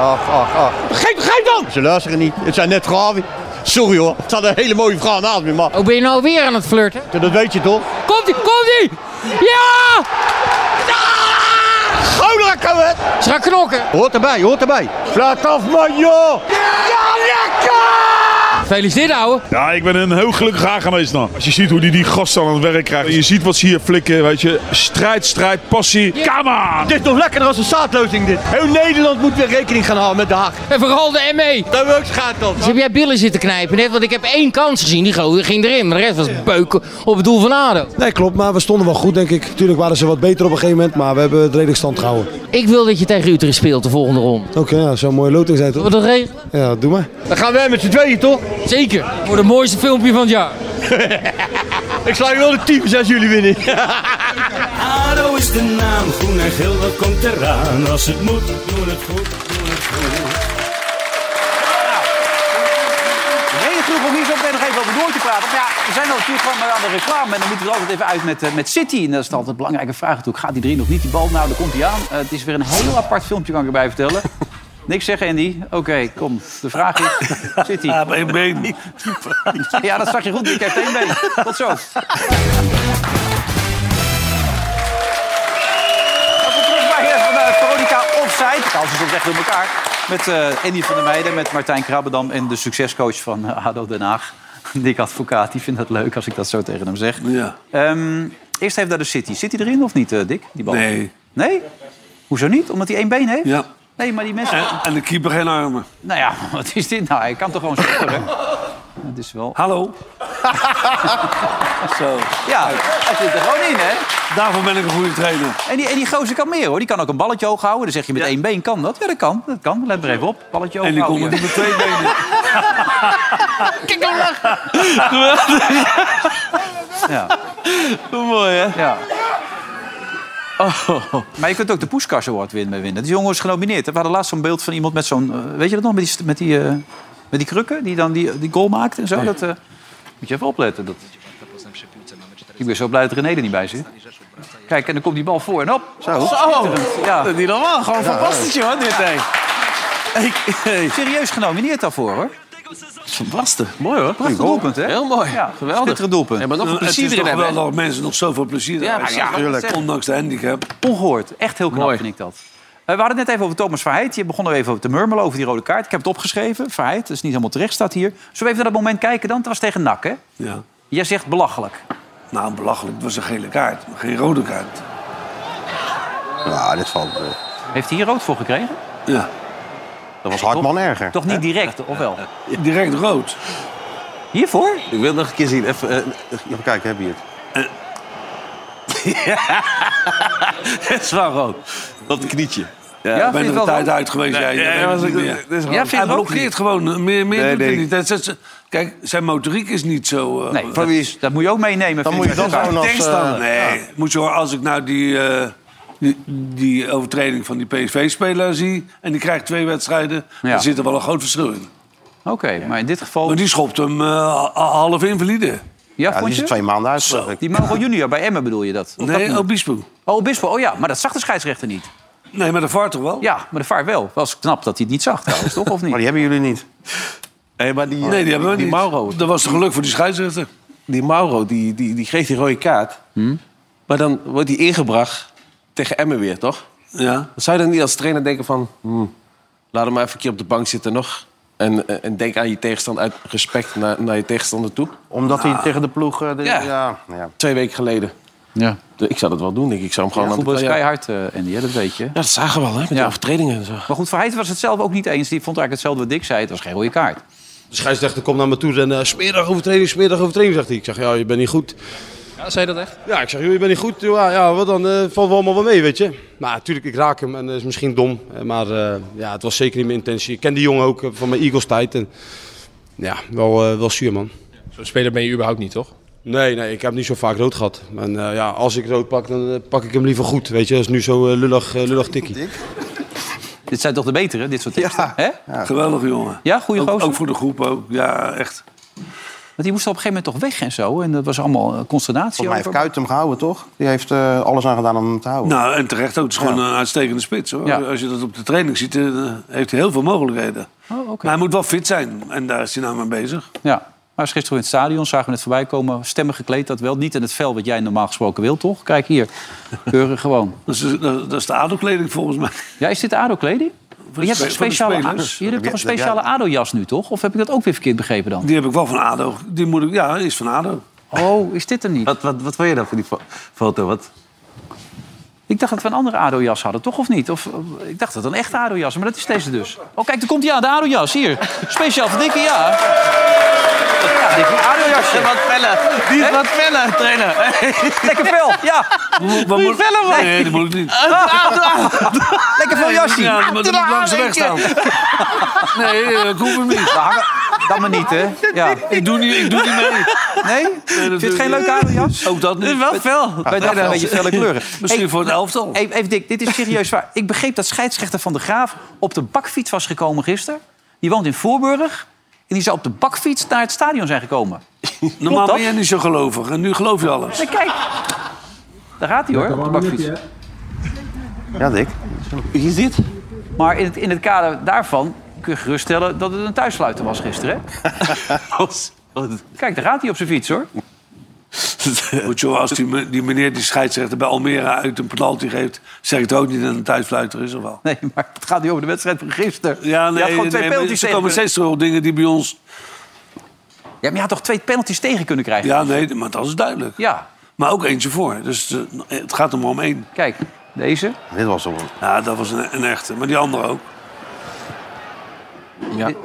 Ach, ach, ach. Begrijp, begrijp dan! Ze luisteren niet. Het zijn net graven. Sorry hoor, het staat een hele mooie vrouw naast me, maar... Oh, Hoe ben je nou weer aan het flirten? Dat weet je toch? Komt-ie, komt-ie! Ja! Gouda kan het! Ze gaan knokken. Hoort erbij, hoort erbij. Slaat af, man, joh! Gefeliciteerd, ouwe. Ja, ik ben een heel gelukkig aangewezen dan. Als je ziet hoe die die gasten aan het werk krijgt. Je ziet wat ze hier flikken, weet je. Strijd, strijd, passie. Come on! Dit is nog lekkerder als een zaadlozing, dit. Heel Nederland moet weer rekening gaan houden met de haak. En vooral de ME. Daar wil ik schaat op. Dus heb jij billen zitten knijpen net? Want ik heb één kans gezien. Die gozer ging erin. Maar de rest was beuken op het doel van ADO. Nee, klopt, maar we stonden wel goed, denk ik. Tuurlijk waren ze wat beter op een gegeven moment, maar we hebben het redelijk stand gehouden. Ik wil dat je tegen Utrecht speelt de volgende ronde. Oké, ja, zo'n mooie loting zijn toch? Wat een regelen? Ja, doe maar. Dan gaan wij met z'n tweeën, toch? Zeker. Voor het mooiste filmpje van het jaar. [laughs] ik sla je wel de tyfus als jullie winnen. ADO is de naam, groen en geel, dat komt eraan. Als het moet, doen het goed, doen het goed. De hele groep om hier zo meteen nog even over door te praten. Maar ja, we zijn al natuurlijk gewoon maar aan de reclame. En dan moeten we er altijd even uit met, eh, met City. En dat is altijd een belangrijke vraag natuurlijk. Gaat die drie nog niet die bal? Nou, daar komt hij aan. Eh, het is weer een heel apart filmpje, kan ik erbij vertellen. Niks zeggen, Andy. Oké, kom. De vraag is, City. Ja, mijn been niet. Ja, dat zag je goed. Ik heb één been. Tot zo. Welkom terug bij eh, van eh, Veronica Offside. Trouwens, ze zijn recht door elkaar. Met eh, Andy van der Meijden, met Martijn Krabbendam... en de succescoach van eh, ADO Den Haag, [laughs] Nick Advocaat. Die vindt dat leuk als ik dat zo tegen hem zeg. Ja. Ehm, eerst even naar de City. Zit hij erin of niet, eh, Dick? Die bal? Nee. Nee? Hoezo niet? Omdat hij één been heeft? Ja. Nee, maar die mensen... En, en de keeper geen armen. Nou ja, [laughs] wat is dit nou? Hij kan toch gewoon scoren? Het is wel... Hallo? Zo. Ja, hij zit er gewoon in, hè? Daarvoor ben ik een goede trainer. En die, en die gozer kan meer, hoor. Die kan ook een balletje hoog houden. Dan zeg je met één been, kan dat? Ja, dat kan. Dat kan. Let er even op. Balletje hoog En die komt met die met [laughs] twee benen. Kijk hem lachen. Ja. Mooi, hè? Ja. Oh. Maar je kunt ook de Poeskas Award winnen. bij winnen. Die jongen is genomineerd. hè. We hadden laatst zo'n beeld van iemand met zo'n... eh, weet je dat nog? Met die, met die, eh, met die krukken die dan die, die goal maakt en zo. Dat, eh, moet je even opletten. Dat... Ik ben zo blij dat René er niet bij zit. Kijk, en dan komt die bal voor en op. Zo. Ja. Dat is niet normaal. Gewoon Ja, fantastisch, joh, dit, hè. eh, Serieus genomineerd daarvoor, hoor. Verbaste. Mooi, hoor. Prachtig doelpunt, hè? Heel mooi. Ja. Geweldig. Schitterend doelpunt. En maar nog een plezier Het is erin toch hebben. wel dat mensen nog zoveel plezier Ja, hebben. ja, tuurlijk. Ondanks de handicap. Ongehoord. Echt heel knap vind ik dat. Eh, we hadden het net even over Thomas Verheid. Je begon er even over te murmelen over die rode kaart. Ik heb het opgeschreven. Verheid, dat is niet helemaal terecht, staat hier. Zullen we even naar dat moment kijken dan? Het was tegen NAC, hè? Ja. Jij zegt belachelijk. Nou, belachelijk. Het was een gele kaart. maar Geen rode kaart. [laughs] Ja, dit valt. eh. Heeft hij hier rood voor gekregen? Ja. Dat was Hartman erger. Toch niet direct, of wel? Direct rood. Hiervoor? Ik wil het nog een keer zien. Even, eh, Even kijken, heb je het? Eh. [laughs] het is wel rood. Dat een knietje. Ja, ik ben er een tijd uit geweest. jij. jij weet was het ik- niet meer. dit is rood. Hij Ja, vind je het ook blokkeert niet? gewoon. Meer, meer Nee, doet hij nee. niet. Dat- dat- dat- kijk, zijn motoriek is niet zo... eh, Nee, dat, dat moet je ook meenemen. vind ik. Tanks dan? eh, Nee, moet je horen, als ik nou die, eh, die, die overtreding van die PSV-speler zie... en die krijgt twee wedstrijden, Ja. dan zit er wel een groot verschil in. Oké, maar in dit geval... Maar die schopt hem eh, ha- half invalide. Ja, vond je? maanden uit. Die Mauro junior bij Emmen bedoel je dat? Of dat Nee, niet? Obispo. Oh, Obispo. Oh ja, maar dat zag de scheidsrechter niet. Nee, maar de vaart toch wel? Ja, maar de vaart wel. Was knap dat hij het niet zag trouwens, toch? Of niet? Maar die hebben jullie niet. Nee, maar die, eh, Nee, die hebben we die niet. Mauro. Dat was toch geluk voor die scheidsrechter? Hm? Die Mauro, die, die, die kreeg die rode kaart. Maar dan wordt die ingebracht tegen Emmen weer, toch? Ja. Zou je dan niet als trainer denken van... hmm, laat hem maar even een keer op de bank zitten nog. En, eh, en denk aan je tegenstander uit respect naar, naar je tegenstander toe. Omdat Ah. hij tegen de ploeg... eh, de- Ja. ja, ja. Twee weken geleden. Dus Ja. Ik zou dat wel doen, denk ik. Ik zou hem gewoon Ja, aan de voetbal is ja. keihard, eh, Andy, hè? dat weet je. Ja, dat zagen we al, hè, met die overtredingen en zo. Maar goed, Verheid was het zelf ook niet eens. Die vond eigenlijk hetzelfde wat Dick zei. Het was geen rode kaart. De scheidsrechter komt naar me toe en eh smerig overtreding, smerig overtreding, zegt hij. Ik zeg, ja, je bent niet goed. Ja, zei dat echt? Ja, ik zeg, joh, je bent niet goed. Ja, ja wat dan? eh valt wel allemaal wel mee, weet je. Maar natuurlijk, ik raak hem en dat is misschien dom. eh, Maar eh, ja, het was zeker niet mijn intentie. Ik ken die jongen ook eh, van mijn Eagles tijd. En, ja, wel, eh, wel zuur, man. Zo'n speler ben je überhaupt niet, toch? Nee, nee, ik heb niet zo vaak rood gehad. En eh, ja, als ik rood pak, dan eh, pak ik hem liever goed. Weet je, dat is nu zo eh, lullig, eh, lullig tikkie. Dit zijn toch de betere, dit soort teksten? hè? Geweldig jongen. Ja, goede ook, gozer. ook voor de groep ook. Ja, echt. Want die moest op een gegeven moment toch weg en zo. En dat was allemaal eh, consternatie Volgens mij heeft over. Kuyt hem gehouden, toch? Die heeft eh, alles aan gedaan om hem te Oh. houden. Nou, en terecht ook. Het is gewoon een uitstekende spits. Hoor. Ja. Als je dat op de training ziet, eh, heeft hij heel veel mogelijkheden. Oh, oké. Maar hij moet wel fit zijn. En daar is hij nou mee bezig. Ja, maar is gisteren in het stadion zagen we het voorbij komen. Stemmen gekleed, dat wel. Niet in het vel wat jij normaal gesproken wil, toch? Kijk hier, keurig gewoon. [laughs] Dat is, eh, dat is de ADO-kleding volgens mij. Ja, is dit ADO-kleding? Van Je hebt, de een spe- van de speciale, a- spelers. je hebt toch een Heb jij- speciale ADO-jas nu, toch? Of heb ik dat ook weer verkeerd begrepen dan? Die heb ik wel van ADO. Die moet ik, ja, is van ADO. Oh, is dit hem niet? Wat, wat, wat wil je dan voor die fo- foto? Wat? Ik dacht dat we een andere ADO-jas hadden, toch? Of niet? Of, eh, ik dacht dat het een echte ADO-jas was, maar dat is deze dus. Oh, kijk, daar komt hij aan, de ADO-jas. Hier, speciaal voor Dikkie, ja. Ja, Dikkie, ADO-jasje. Wat pellen. Die is wat pellen, trainer. [laughs] Lekker fel, ja. [laughs] Wat moet vellen, man. Nee, dat moet ik niet. Ah, Lekker veel jasje. Ja, maar dat moet langs de weg staan. [laughs] Nee, eh, dat hoef ik niet. Dat maar niet, hè? Ja. Ik doe niet, ik doe niet mee. Nee? Vind je het geen leuke ADO-jas? Ook dat niet. Ah, Wel fel. Bij dag een beetje felle kleuren. [laughs] Misschien Hey, voor het elftal. Even, even Dick, dit is serieus waar. Ik begreep dat scheidsrechter Van der Graaf op de bakfiets was gekomen gisteren. Die woont in Voorburg. En die zou op de bakfiets naar het stadion zijn gekomen. Normaal dat? ben jij niet zo gelovig. En nu geloof je alles. Nee, kijk. Daar gaat hij hoor, op de bakfiets. Ja, Dick. Je ziet. Maar in het, in het kader daarvan kun je geruststellen dat het een thuissluiter was gisteren. Hè? [laughs] Kijk, daar gaat hij op zijn fiets hoor. Goed, joh, als die, me- die meneer die scheidsrechter bij Almere uit een penalty geeft... zeg ik het ook niet dat het een thuisfluiter is of wel? Nee, maar het gaat nu over de wedstrijd van gisteren. Ja, je had gewoon twee maar penalties Ze tegen kunnen... komen steeds terug op dingen die bij ons... Ja, maar je had toch twee penalties tegen kunnen krijgen? Ja, nee, maar dat is duidelijk. Ja. Maar ook eentje voor. Dus eh, het gaat er maar om één. Kijk, deze. Dit was hem. Ja, dat was een, een echte. Maar die andere ook.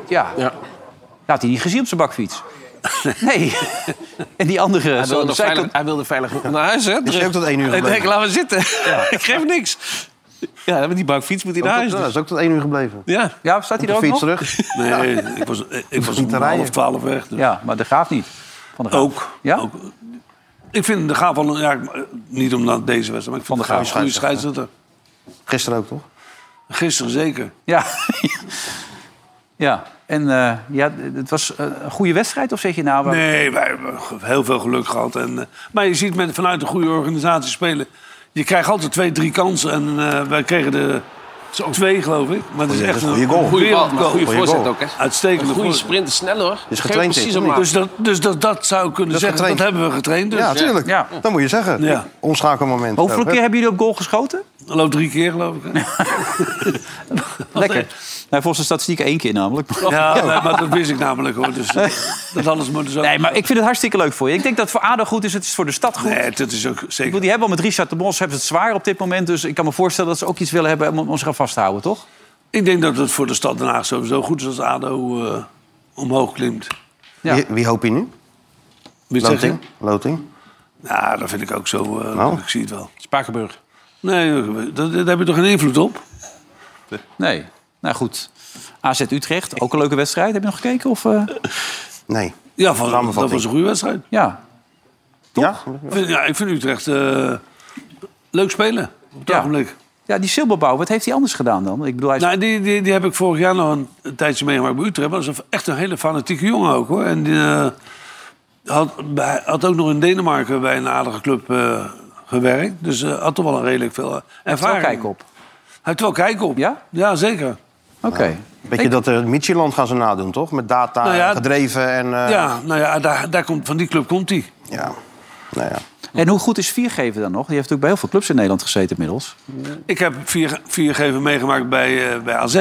Ja. ja. Laat hij niet gezien op zijn [laughs] bakfiets. Nee. en die andere... Hij zo aan wilde, de zijkant- veilig, hij wilde veilig naar huis, hè? Is hij ook tot één uur Hij gebleven? denkt, laat maar zitten. [laughs] Ik geef niks. Ja, met die bakfiets moet hij naar Ook huis. tot- ja, dus. is ook tot één uur gebleven. Ja. Oh. ja, staat hij er Op de ook fiets nog? terug? [laughs] Nee, ik was, ik was om te rijden. half twaalf weg. dus. Ja, maar de Graaf niet. Van de Graaf. Ook. ook. Ik vind de Graaf wel... een- Ja, eh, niet omdat deze wedstrijd, maar ik vind de Graaf een goede scheidsrechter. Gisteren ook, toch? Gisteren zeker. Ja. [laughs] ja. En eh, ja, het was eh, een goede wedstrijd, of zeg je Ah, nou... we- Nee, wij hebben ge- heel veel geluk gehad. En, eh, maar je ziet met, vanuit een goede organisatie spelen. Je krijgt altijd twee, drie kansen. En eh, wij kregen de twee, geloof ik. Maar het is Goeie- echt een goeie goal. Goeie bal, maar wereldgoal. goede Goeie voorzet goal. ook, hè? Uitstekende Een goede voorzet. sprint, snel hoor. is Geef getraind, precies dit, om of aan. niet? Dus, dat, dus dat, dat zou ik kunnen Dat is zeggen. getraind. Dat hebben we getraind. Dus. Ja, tuurlijk. Ja. Dat moet je zeggen. Ja. Omschakelmoment. Hoeveel ook, hè? keer hebben jullie op goal geschoten? Dat loopt drie keer, geloof [laughs] ik. hè? Lekker. Nou, volgens de statistieken één keer namelijk. [laughs] Ja, nee, maar dat wist ik namelijk hoor. Dus eh, dat alles moet dus ook. Nee, maar ik vind het hartstikke leuk voor je. Ik denk dat het voor ADO goed is, het is voor de stad goed. Nee, dat is ook Ik zeker. bedoel, die hebben al met Richard de Mos hebben ze het zwaar op dit moment. Dus ik kan me voorstellen dat ze ook iets willen hebben om ons gaan vasthouden, toch? Ik denk dat het voor de stad Den Haag sowieso goed is als ADO eh, omhoog klimt. Ja. Wie, wie hoop je nu? Wie zeg je? Loting? Loting? Ja, dat vind ik ook zo. eh, Nou. Ik zie het wel. Spakenburg. Nee, daar- daar heb je toch geen invloed op? Nee. Nou goed. AZ Utrecht, ook een leuke wedstrijd. Heb je nog gekeken? Of, eh, Nee. Ja, van- dat Samenvatting. was een goede wedstrijd. Ja. Ja? Ik vind- Ja, ik vind Utrecht eh, leuk spelen op het Ja. ogenblik. ja, die Silberbouw, wat heeft hij anders gedaan dan? Ik bedoel, hij is... Nou, die, die, die heb ik vorig jaar nog een, een tijdje meegemaakt bij Utrecht. Maar dat is een- echt een hele fanatieke jongen ook, hoor. En die eh, had, bij- had ook nog in Denemarken bij een aardige club eh, gewerkt. Dus eh, had toch wel een redelijk veel eh, ervaring. kijk op. Hij heeft wel kijk op. Ja? Ja, zeker. Oké. Weet je dat er Michieland gaan ze nadoen, toch? Met data Nou ja, en gedreven en... eh, ja, nou ja, daar, daar komt, van die club komt hij. ja. Nou ja. En hoe goed is Viergever dan nog? Die heeft natuurlijk bij heel veel clubs in Nederland gezeten inmiddels. Ik heb vier, vier geven meegemaakt bij, eh, bij AZ.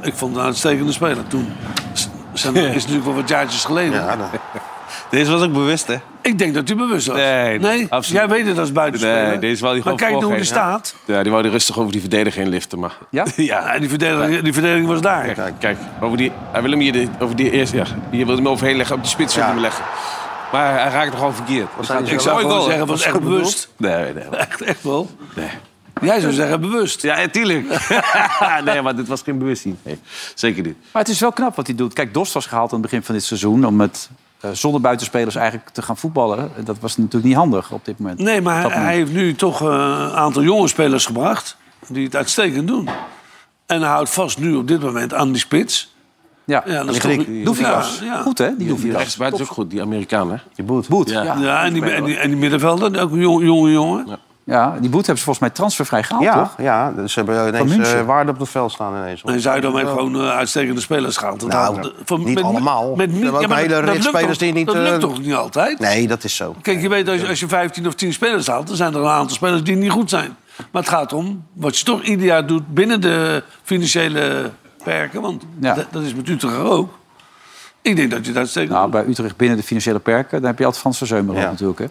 Ik vond het een uitstekende speler toen. S- Zijn, is natuurlijk wel wat jaartjes geleden. Ja, dat- Deze was ook bewust, hè? Ik denk dat hij bewust was. Nee, absoluut. jij weet het als buitenspeler. Nee, deze wou die Maar gewoon kijk nou hoe die voorgeven, hè? staat. Ja, die wou die rustig over die verdediger heen liften, maar... Ja? [laughs] Ja, en die verdediging, die verdediging was daar. Kijk, kijk over die, hij wil hem hier de, over die eerste... Ja, je wil hem overheen leggen, op de spits wil je hem leggen. Maar hij raakt nogal verkeerd. Dus zijn dat- die Ik zou Mooi gewoon goal, hè? zeggen, was echt bewust. Nee, nee. Echt, echt wel. Jij zou zeggen, bewust. [laughs] Ja, tuurlijk. nee, maar dit was geen bewustzijn. Nee, zeker niet. Maar het is wel knap wat hij doet. Kijk, Dost was gehaald aan het begin van dit seizoen. Om met eh, zonder buitenspelers eigenlijk te gaan voetballen. En Dat was natuurlijk niet handig op dit moment. Nee, maar Op dat hij, moment. hij heeft nu toch eh, een aantal jonge spelers gebracht die het uitstekend doen. En hij houdt vast nu op dit moment aan die spits. Ja, dat is toch- Ja, ja. Rechtsbuiten is ook goed, die Amerikaan, hè? Die Boet. Boet. Ja. Ja, en die, en die, en die middenvelder, ook een jonge jongen. Ja. die Boet hebben ze volgens mij transfervrij gehaald, Ja, toch? ja, dus ze hebben ineens Van München. eh, waarde op het veld staan ineens. En Zuidam heeft gewoon eh, uitstekende spelers gehaald. Dat Nou, had- van- niet allemaal. Met, Ze hebben ook ja, maar een hele dat- dat rits lukt spelers toch- die niet, Dat lukt eh, toch niet altijd? Nee, dat is zo. Kijk, je weet, als je, als je 15 of 10 spelers haalt, dan zijn er een aantal spelers die niet goed zijn. Maar het gaat om wat je toch ieder jaar doet binnen de financiële perken. Want Ja. dat, dat is met Utrecht ook. Ik denk dat je dat steekt. Nou, bij Utrecht binnen de financiële perken, daar heb je altijd Frans van Zeumerland natuurlijk. Hè?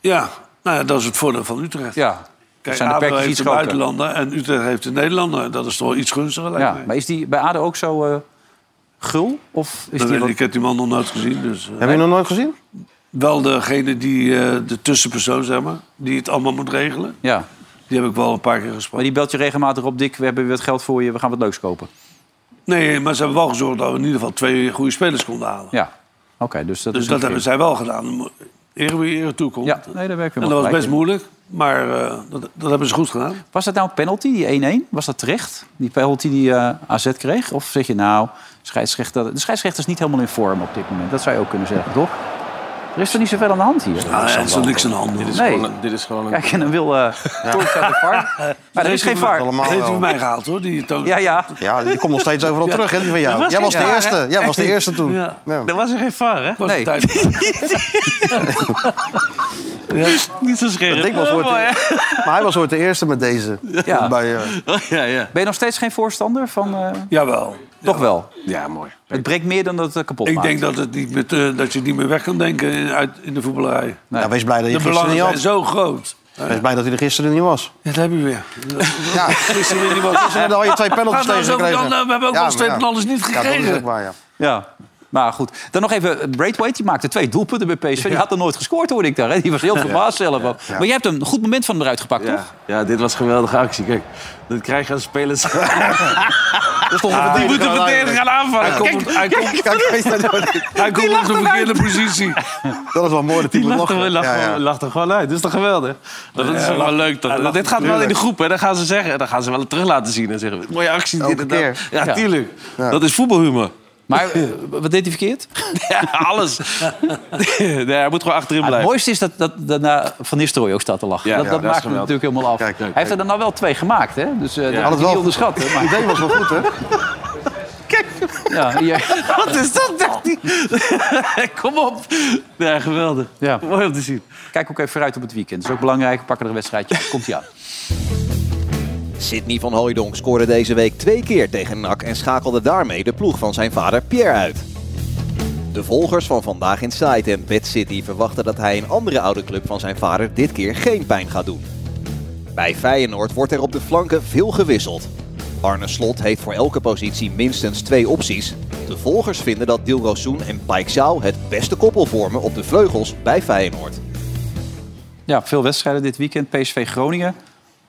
Ja, nou ja, dat is het voordeel van Utrecht. Ja. Kijk, Zijn de ADO perkjes heeft iets de groter? buitenlander en Utrecht heeft de Nederlander. Dat is toch iets gunstiger, lijkt Ja, mij. maar is die bij ADO ook zo eh, gul? Of is Dat die weet wat- ik, ik heb die man nog nooit gezien. Dus, Heb je nog nooit gezien? Wel degene die, eh, de tussenpersoon, zeg maar, die het allemaal moet regelen. Ja. Die heb ik wel een paar keer gesproken. Maar die belt je regelmatig op, Dick, we hebben weer wat geld voor je, we gaan wat leuks kopen. Nee, maar ze hebben wel gezorgd dat we in ieder geval twee goede spelers konden halen. Ja, oké. dus dat, dus is dat een hebben keer. zij wel gedaan. Eer wie eer toekomt. Ja, nee, daar werken En we dat was gelijk best in. moeilijk, maar eh, dat, dat hebben ze goed gedaan. Was dat nou een penalty, die 1-1? Was dat terecht? Die penalty die eh, AZ kreeg? Of zeg je nou, scheidsrechter, de scheidsrechter is niet helemaal in vorm op dit moment. Dat zou je ook kunnen zeggen, toch? Er is er niet zoveel aan de hand hier. Nou, er is er niks aan de hand. Dit is Nee. gewoon een- dit is gewoon Kijk, en dan wil eh [laughs] Torres aan [laughs] de VAR. Maar er is geen VAR. Dat heeft hij van mij [laughs] gehaald, hoor. Die toon. Ja, ja. Ja, die komt nog steeds overal terug, hè, die van jou. Er Jij geen was de VAR, hè? eerste. Jij was de eerste toen. Ja. Ja. Er was er geen VAR, hè? Was Nee. een tijd. Niet zo scherp. Dick was ooit Oh, mooi, hè? de- [laughs] maar hij was ooit de eerste met deze. Ja. Bij, eh, ja, ja. Ben je nog steeds geen voorstander van... eh, Jawel. Toch wel? Ja, mooi. Het breekt meer dan dat het eh, kapot Ik maakt. denk dat, het niet met, eh, dat je niet meer weg kan denken in, uit, in de voetballerij. Nou, wees blij dat je De gisteren belangen niet zijn had. zo groot. Wees blij dat hij er gisteren niet was. Dat heb je weer. Ja, gisteren weer niet was. Gisteren had je twee penalties Ga nou tegen zo gekregen. dan, eh, we hebben ook Ja, wel maar twee ja. penalties niet Ja, dat is gekregen. ook waar, ja. Ja. Maar goed, dan nog even Braithwaite. Die maakte twee doelpunten bij PSV. Die had er nooit gescoord, hoorde ik daar. Hè? Die was heel verbaasd zelf. ook. Maar jij hebt een goed moment van hem eruit gepakt, Ja. toch? ja, dit was een geweldige actie. Kijk, dat krijg je als [laughs] spelers. die moeten verdedigen gaan aanvallen. Hij komt, hij komt, hij komt op de verkeerde positie. Dat is wel mooi dat hij Die lacht er, lachen. lacht, Ja, ja. er- lacht er gewoon uit. Dat is toch geweldig? Dat, dat is toch wel leuk, toch? lacht dit gaat wel in natuurlijk. de groep, hè? Dan gaan ze zeggen. Dan gaan ze wel terug laten zien. En zeggen, [laughs] mooie actie, dit Elke en dat. keer. Ja, Ja. tuurlijk. Dat is voetbalhumor. Maar eh, wat deed hij [laughs] verkeerd? Ja, alles. [laughs] nee, hij moet gewoon achterin Ah, het blijven. mooiste is dat, dat daarna Van Nistelrooy ook staat te lachen. Ja, dat ja, dat dat maakt is hem geweldig. natuurlijk helemaal af. Kijk, kijk, Hij heeft er kijk. dan nou wel twee gemaakt, hè? Dus eh dat Had had het niet wel- onderschat. hè, Het Maar, idee was wel goed, hè? [laughs] ja, hier- [laughs] Wat is dat? dacht hij? [laughs] Kom op. Ja, geweldig. Ja. Mooi om te zien. Kijk ook even vooruit op het weekend. Dat is ook belangrijk. We Pakken er een wedstrijdje. uit. Komt-ie aan. Sidney van Hooijdonk scoorde deze week twee keer tegen NAC en schakelde daarmee de ploeg van zijn vader Pierre uit. De volgers van Vandaag in Sight en Bed City verwachten dat hij een andere oude club van zijn vader dit keer geen pijn gaat doen. Bij Feyenoord wordt er op de flanken veel gewisseld. Arne Slot heeft voor elke positie minstens twee opties. De volgers vinden dat Dilrosun en Paik Zhao het beste koppel vormen op de vleugels bij Feyenoord. Ja, veel wedstrijden dit weekend. PSV Groningen.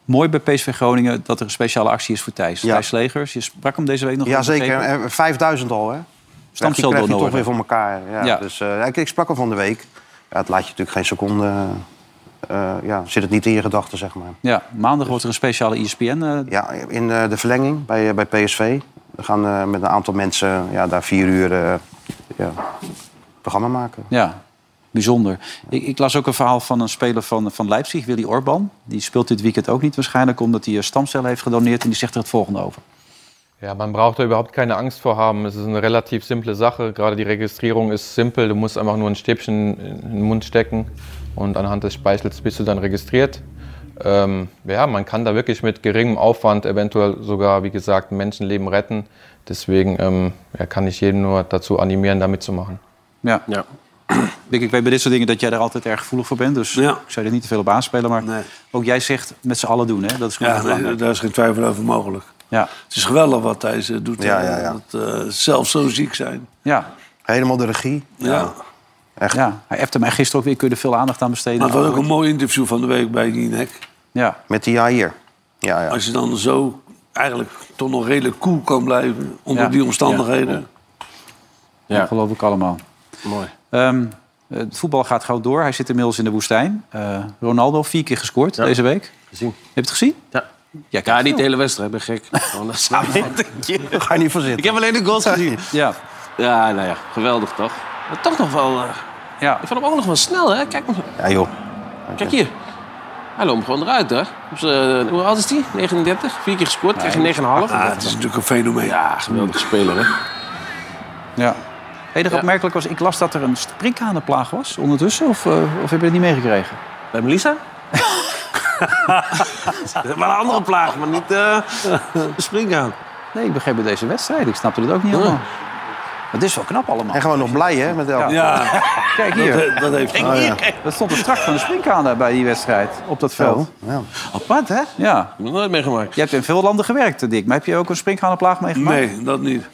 Mooi bij PSV Groningen dat er een speciale actie is voor Thijs. Thijs Legers, je sprak hem deze week nog. Ja, even, zeker. begreep ik. En 5000 al, hè? Krijgt hij- Stamceldonoren. krijgt hij toch weer voor elkaar. Ja. Ja. Dus, eh, ik, ik sprak al van de week. Ja, het laat je natuurlijk geen seconde... eh, ja, zit het niet in je gedachten, zeg maar. Ja, maandag wordt er een speciale ESPN. eh, Ja, in eh, de verlenging bij, eh, bij PSV. We gaan eh, met een aantal mensen ja, daar vier uur eh ja, programma maken. Ja, bijzonder. Ik, ik las ook een verhaal van een speler van, van Leipzig, Willy Orban. Die speelt dit weekend ook niet waarschijnlijk, omdat hij eh, stamcellen heeft gedoneerd. En die zegt er het volgende over. Ja, man braucht da überhaupt keine Angst vor haben. Es ist eine relativ simple Sache. Gerade die Registrierung ist simpel. Du musst einfach nur ein Stäbchen in den Mund stecken und anhand des Speichels bist du dann registriert. Ähm, ja, man kann da wirklich mit geringem Aufwand eventuell sogar, wie gesagt, ein Menschenleben retten. Deswegen ähm, ja, kann ich jeden nur dazu animieren, da mitzumachen. Ja. ja. Ik weet bij dit soort dingen dat jij daar altijd erg gevoelig voor bent. Dus ik zou er niet te veel op aanspelen. Maar ook jij zegt met z'n allen doen. Hè? Dat is gewoon Ja, nee, belangrijk. daar is geen twijfel over mogelijk. Ja. Het is geweldig wat Thijs eh, doet. Ja, eh, ja, ja. Dat, eh, zelf zo ziek zijn. Ja. Helemaal de regie. Ja. Echt. ja. Hij heeft er mij gisteren ook weer kunnen veel aandacht aan besteden. Maar het was ook een mooi interview van de week bij Jinek. Ja. Met die Jair. Ja, ja. Als je dan zo eigenlijk toch nog redelijk cool kan blijven onder Ja. die omstandigheden. Ja. Geloof ik allemaal. Mooi. Eh, Ehm, het voetbal gaat gauw door. Hij zit inmiddels in de woestijn. Eh, Ronaldo, vier keer gescoord deze week. Gezien. Heb je het gezien? Ja. Ja, niet de hele wedstrijd, ben gek. Nou, [laughs] Daar ga je niet voor zitten. Ik heb alleen de goals gezien. ja. ja, nou ja, geweldig toch? Maar toch nog wel... eh, Ik vond hem ook nog wel snel, hè? Kijk, Ja, joh. kijk hier. Hij loopt hem gewoon eruit, hè? Op eh, z'n- hoe oud is hij? 39? Vier keer gescoord, krijg je 9,5. Ah, het is natuurlijk een fenomeen. Ja, geweldige speler, hè? Ja. Het enige opmerkelijk was, ik las dat er een sprinkhanenplaag was ondertussen. Of, eh, of heb je het niet meegekregen? [laughs] Bij Melissa? maar een andere plaag, maar niet eh de springhaan. Nee, ik begreep bij deze wedstrijd. Ik snapte het ook niet helemaal. Het is wel knap allemaal. En gewoon nog blij, hè, met elkaar. Ja. Kijk hier. Dat- dat heeft- Kijk hier, ja. Dat stond er strak van de sprinkhanen bij die wedstrijd op dat veld. Apart, hè? Ja. Ik heb nooit meegemaakt. Je hebt in veel landen gewerkt, Dick. Maar heb je ook een sprinkhanenplaag meegemaakt? Nee, dat niet.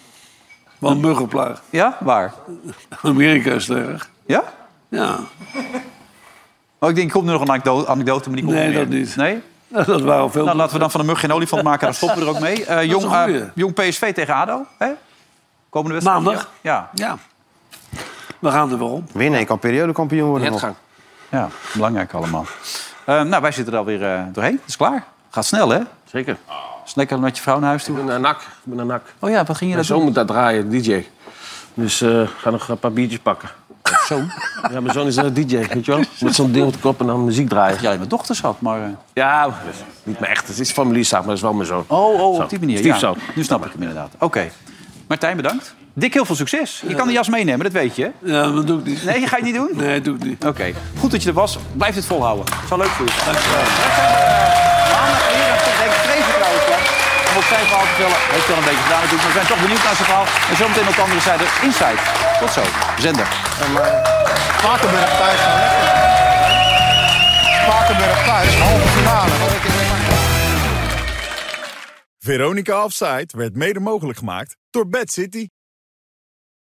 Wel een burgerplaag. Ja? Waar? [laughs] Amerika is het erg. Ja? Ja. Oh, ik denk, ik kom nu nog een anekdote, anekdote maar die komt Nee, niet meer. dat niet. Nee? [laughs] Dat waren al veel Nou, laten we dan van de mug geen [laughs] olifant maken. Dan stoppen we er ook mee. Eh, Dat is jong, een goeie. eh, jong PSV tegen ADO. Hè? Komende wedstrijd. Maandag. Ja. Ja. We gaan er wel om. Winnen, ik kan periodekampioen worden nog. Ja, belangrijk allemaal. Eh, nou, wij zitten er alweer eh doorheen. Het is klaar. Gaat snel, hè? Zeker. Is lekker met je vrouw naar huis toe. Ik ben een nak. Ik ben een nak. Oh ja, wat ging je Mijn dat zoon doen? moet dat draaien, DJ. Dus eh ga nog een paar biertjes pakken. Zo? Ja, mijn zoon is een DJ, [laughs] weet je wel? Met zo'n ding op de kop en dan muziek draaien. Jij mijn dochter zat, maar... eh. Ja, dus niet mijn echt. Het is familiezaak, maar het is wel mijn zoon. Oh, oh Zo. op die manier. Stiefzoon. Ja, nu snap ik hem inderdaad. Oké. Martijn, bedankt. Dick, heel veel succes. Je kan de jas meenemen, dat weet je. hè? Ja, dat doe ik niet. Nee, ga je niet doen? Nee, dat doe ik niet. Oké. Goed dat je er was. Blijf het volhouden. Het zal leuk voor je zijn. Dankjewel. Om ook zijn verhaal te vertellen, heeft hij al een beetje gedaan natuurlijk. Maar we zijn toch benieuwd naar zijn verhaal. En zometeen op de andere zijde Inside. Tot zo. Zender. Spakenburg thuis. Spakenburg thuis, halve finale. Veronica Offside werd mede mogelijk gemaakt door Bad City.